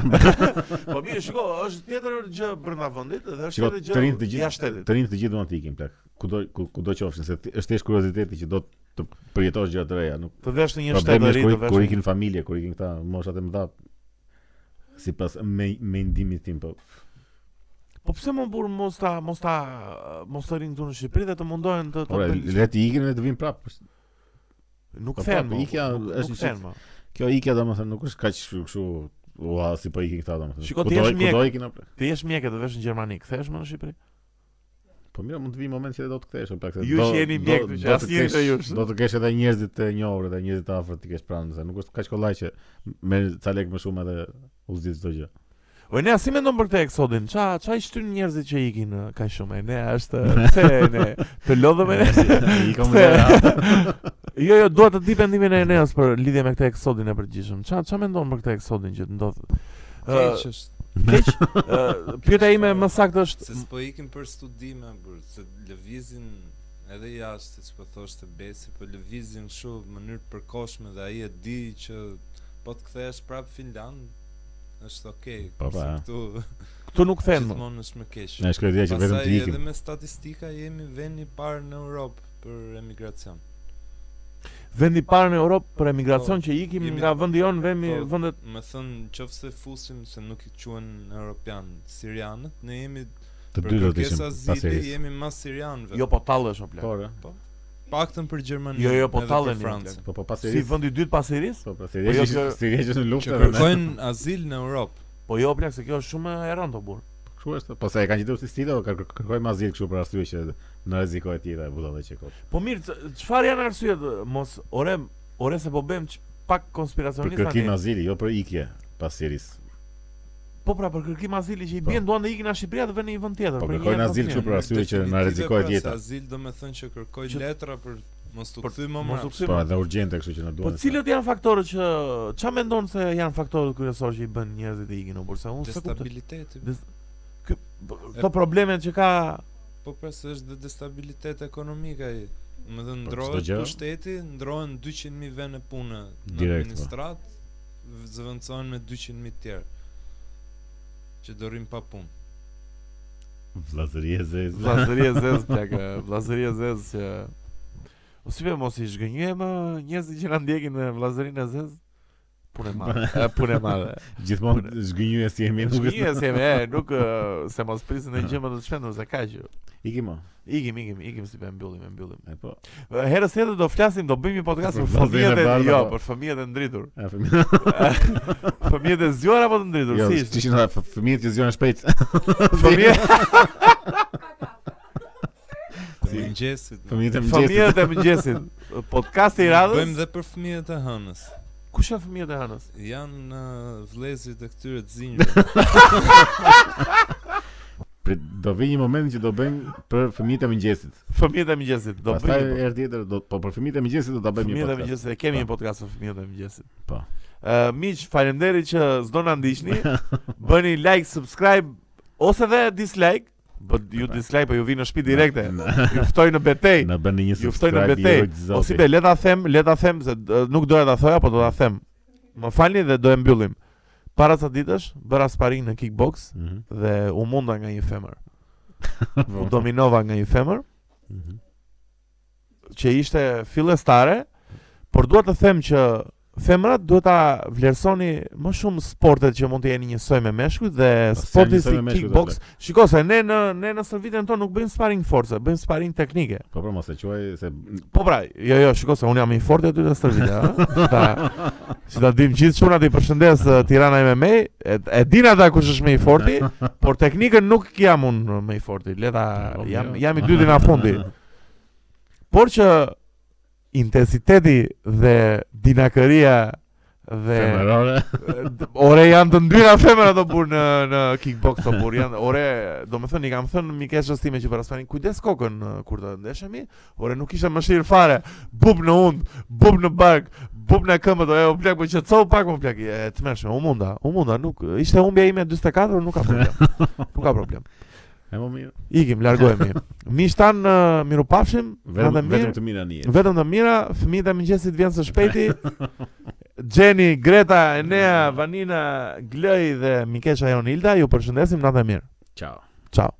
Po mirë, shiko, është tjetër gjë brenda vendit dhe është Shiko, tjetër të rinë të gjë gjithë- jashtë shtetit. Të rinë të gjithë duan të ikin plak. Kudo ku- kudo qofshin, se ti- është thjesht kurioziteti që do të përjetosh gjëra të reja, nuk Të vesh në një shtet Problemi të ri, është të kur- vesh. kur në- ikin familje, kur ikin këta moshat e mëdha sipas me mendimit tim po. Po pse më burr mos ta mos ta mos të rinë këtu në Shqipëri dhe të mundohen të të Ora, bëjnë- le të ikin dhe të vinë prapë. është- Nuk Po, them. po, mo, ikja nuk- është nuk një them. mo. Kjo ikja domethënë nuk është kaq kështu ua si po ikin këta domethënë. Shiko, ti Kudo- jesh mjek. Kudo ikin apo? Ti jesh mjek e të vesh në Gjermani, kthehesh më në Shqipëri? Po mirë, mund të vi moment që do të kthesh, o plak. se Ju do- që jeni do- mjek, do që të asnjëri kesh- prej jush. Do të kesh edhe njerëzit të njohur dhe njerëzit të afërt ti kesh pranë, se nuk është kaq kollaj që merr ca lek më shumë edhe u zgjidh çdo gjë. O ne si mendon për këtë eksodin? Ça ça i shtyn njerëzit që ikin ë, kaq shumë? Ne është pse ne të lodhëm ne. Ikëm dhe. Jo, jo, dua të di pendimin e Eneas për lidhje me këtë eksodin e përgjithshëm. Ça ça mendon për këtë eksodin që ndodh? Keq është. Keq. ë, Pyetja ime më saktë Se është s'po ikim për studime, bur, se lëvizin edhe jashtë, siç po thoshte Besi, po lëvizin kështu në mënyrë përkohshme dhe ai e di që po të kthehesh prap Finland, është okay. Po, po, kurse e. këtu këtu nuk them. më. gjithmonë është më keq. Ne shkoj dia që vetëm Pastaj të ikim. edhe me statistika jemi vendi i parë në Europë për emigracion. Vendi i parë në Europë për emigracion Po, që ikim jemi- nga vendi jon, vendi po. vendet Më thënë, qofë se fusim se nuk i quen europian, sirianët, ne jemi Të për dy do të ishim kërkesa pas zili, serisë. jemi mas sirianëve. jo po tallesh o plak. Po, Paktën për Gjermani. Jo, jo, po edhe për talleni, Francën. po, po pas Si serisë. vendi i dytë pas Iris? Po pra, Po, jo, si kjo- si rregjë në luftë. Që ne. kërkojnë azil në Europë. Po jo plak, se kjo është shumë e rëndë o burr. Kështu është. Po sa e kanë gjetur si stilo, ka- kër- kërkoj ma azil kështu për arsye që në rrezikohet tjera e budallë që kot. Po mirë, c- çfarë janë arsyet mos ore ore se po bëjmë ç- pak Për konspiracionist kërkim tani. azili, jo për ikje pas serisë. Po pra për kërkim azili që i Po. bien duan të ikin nga Shqipëria të vënë në një vend tjetër. Po për një kërkojnë jetë azil më kështu mirë. për arsye që Definitive, na rrezikohet pra, se jeta. Azil do me thënë që kërkoj Që- letra për mos të Për- kthy më Mos u mbrapa. kthy Po më. edhe urgjente kështu që na Po duan. cilët janë faktorët që ç'a mendon se janë faktorët kryesorë që i bën njerëzit të ikin në bursa? Unë s'e kuptoj. Destabiliteti. Des- Ky- Këto problemet që ka Po pra se është dhe destabilitet ekonomik ai. Më dhe Po, çdo ndrohet gjë. pushteti, ndrohen 200.000 vende pune në Direkt, po. administrat, v- zëvendësohen me 200.000 tjerë që do rrim pa punë. Vllazëri e zezë. vllazëria e zezë plak, e, vllazëria e zezë që O si be mos i zhgënjej më njerëzit që na ndjekin në vllazërinë e zezë? Punë e madhe, e, punë e madhe. Gjithmonë zgënjuje si jemi, nuk është. Shkije se me, nuk ë, se mos prisin në gjë më të shpendur se kaq. jo. Ikim. o. Ikim, ikim, ikim si pe mbyllim, e mbyllim. E po. Ë, Herës tjetër do flasim, do bëjmë një podcast për Për fëmijët vllazërinë e e bardha, jo, po. për fëmijët e ndritur. E fëmijë. Fëmijët e zgjuar apo të ndritur, Jo, si ishte? ishin ata fë- fëmijët që zgjohen shpejt. Fëmijë. Të si mëngjesit. no. fëmijët e mëngjesit. Fëmijët e mëngjesit. Podcasti i Bëjmë radhës. dhe për fëmijët e hënës. Kush janë fëmijët e hënës? Janë uh, vlezrit e këtyre të zinjve. Prit, do vi një moment që do bëjmë për fëmijët e mëngjesit. Fëmijët e mëngjesit. Do Pastaj bëjmë. herë tjetër do po për fëmijët e mëngjesit do ta bëjmë një Fëmijët e podcast. mëngjesit, e kemi një podcast për fëmijët e mëngjesit. Po. Ë miq, faleminderit që s'do na ndiqni. Bëni like, subscribe ose dhe dislike. Po ju dislike po ju vi në shtëpi direkte. Ju ftoj në betejë. Na bëni një Ju ftoj subscribe i në po rojtë betejë. zoti. Ose le ta them, le ta them se d- nuk doja ta thoja, po do ta them. Më falni dhe do e mbyllim. Para sa ditësh bëra sparing në kickbox Mhm. dhe u munda nga një femër. Po. U dominova nga një femër Mhm. që ishte fillestare, por dua të them që femrat duhet ta vlerësoni më shumë sportet që mund të jeni njësoj me meshkujt dhe janë sporti njësoj si me meshkujt, kickbox. Shikoj se ne në ne në stërvitjen tonë nuk bëjmë sparring force, bëjmë sparring teknike. Po pra mos e quaj se Po pra, jo jo, shikoj se unë jam i fortë aty në stërvitje, ha. Ta, që ta dim gjithë shumë aty përshëndes eh, Tirana MMA, e, e din ata kush është më i forti, por teknikën nuk jam unë më i forti. Le ta Po, jam mirë. jam i dyti në fundi. Por që intensiteti dhe dinakëria dhe femërore. d- ore janë të ndyra femra të burr në në kickbox të burr janë ore do më thënë i kam thënë mikeshës time që para sparin kujdes kokën uh, kur të ndeshemi ore nuk isha mëshirë fare bub në und bub në bark bub në këmbët ore u plak po qetso pak më plak e tmerrshme u munda u munda nuk ishte humbja ime 44 nuk ka problem nuk ka problem E më mirë. ikim largohemi miq tan uh, mirupafshim na Vetëm dhe vetëm mirë të mira nije. Vetëm të mira, fëmijët e mëngjesit vjen së shpejti. Gjeni, Greta, Enea, Vanina, Glej dhe Mikesha Jonilda, ju përshëndesim natë e mirë. Ciao. Ciao.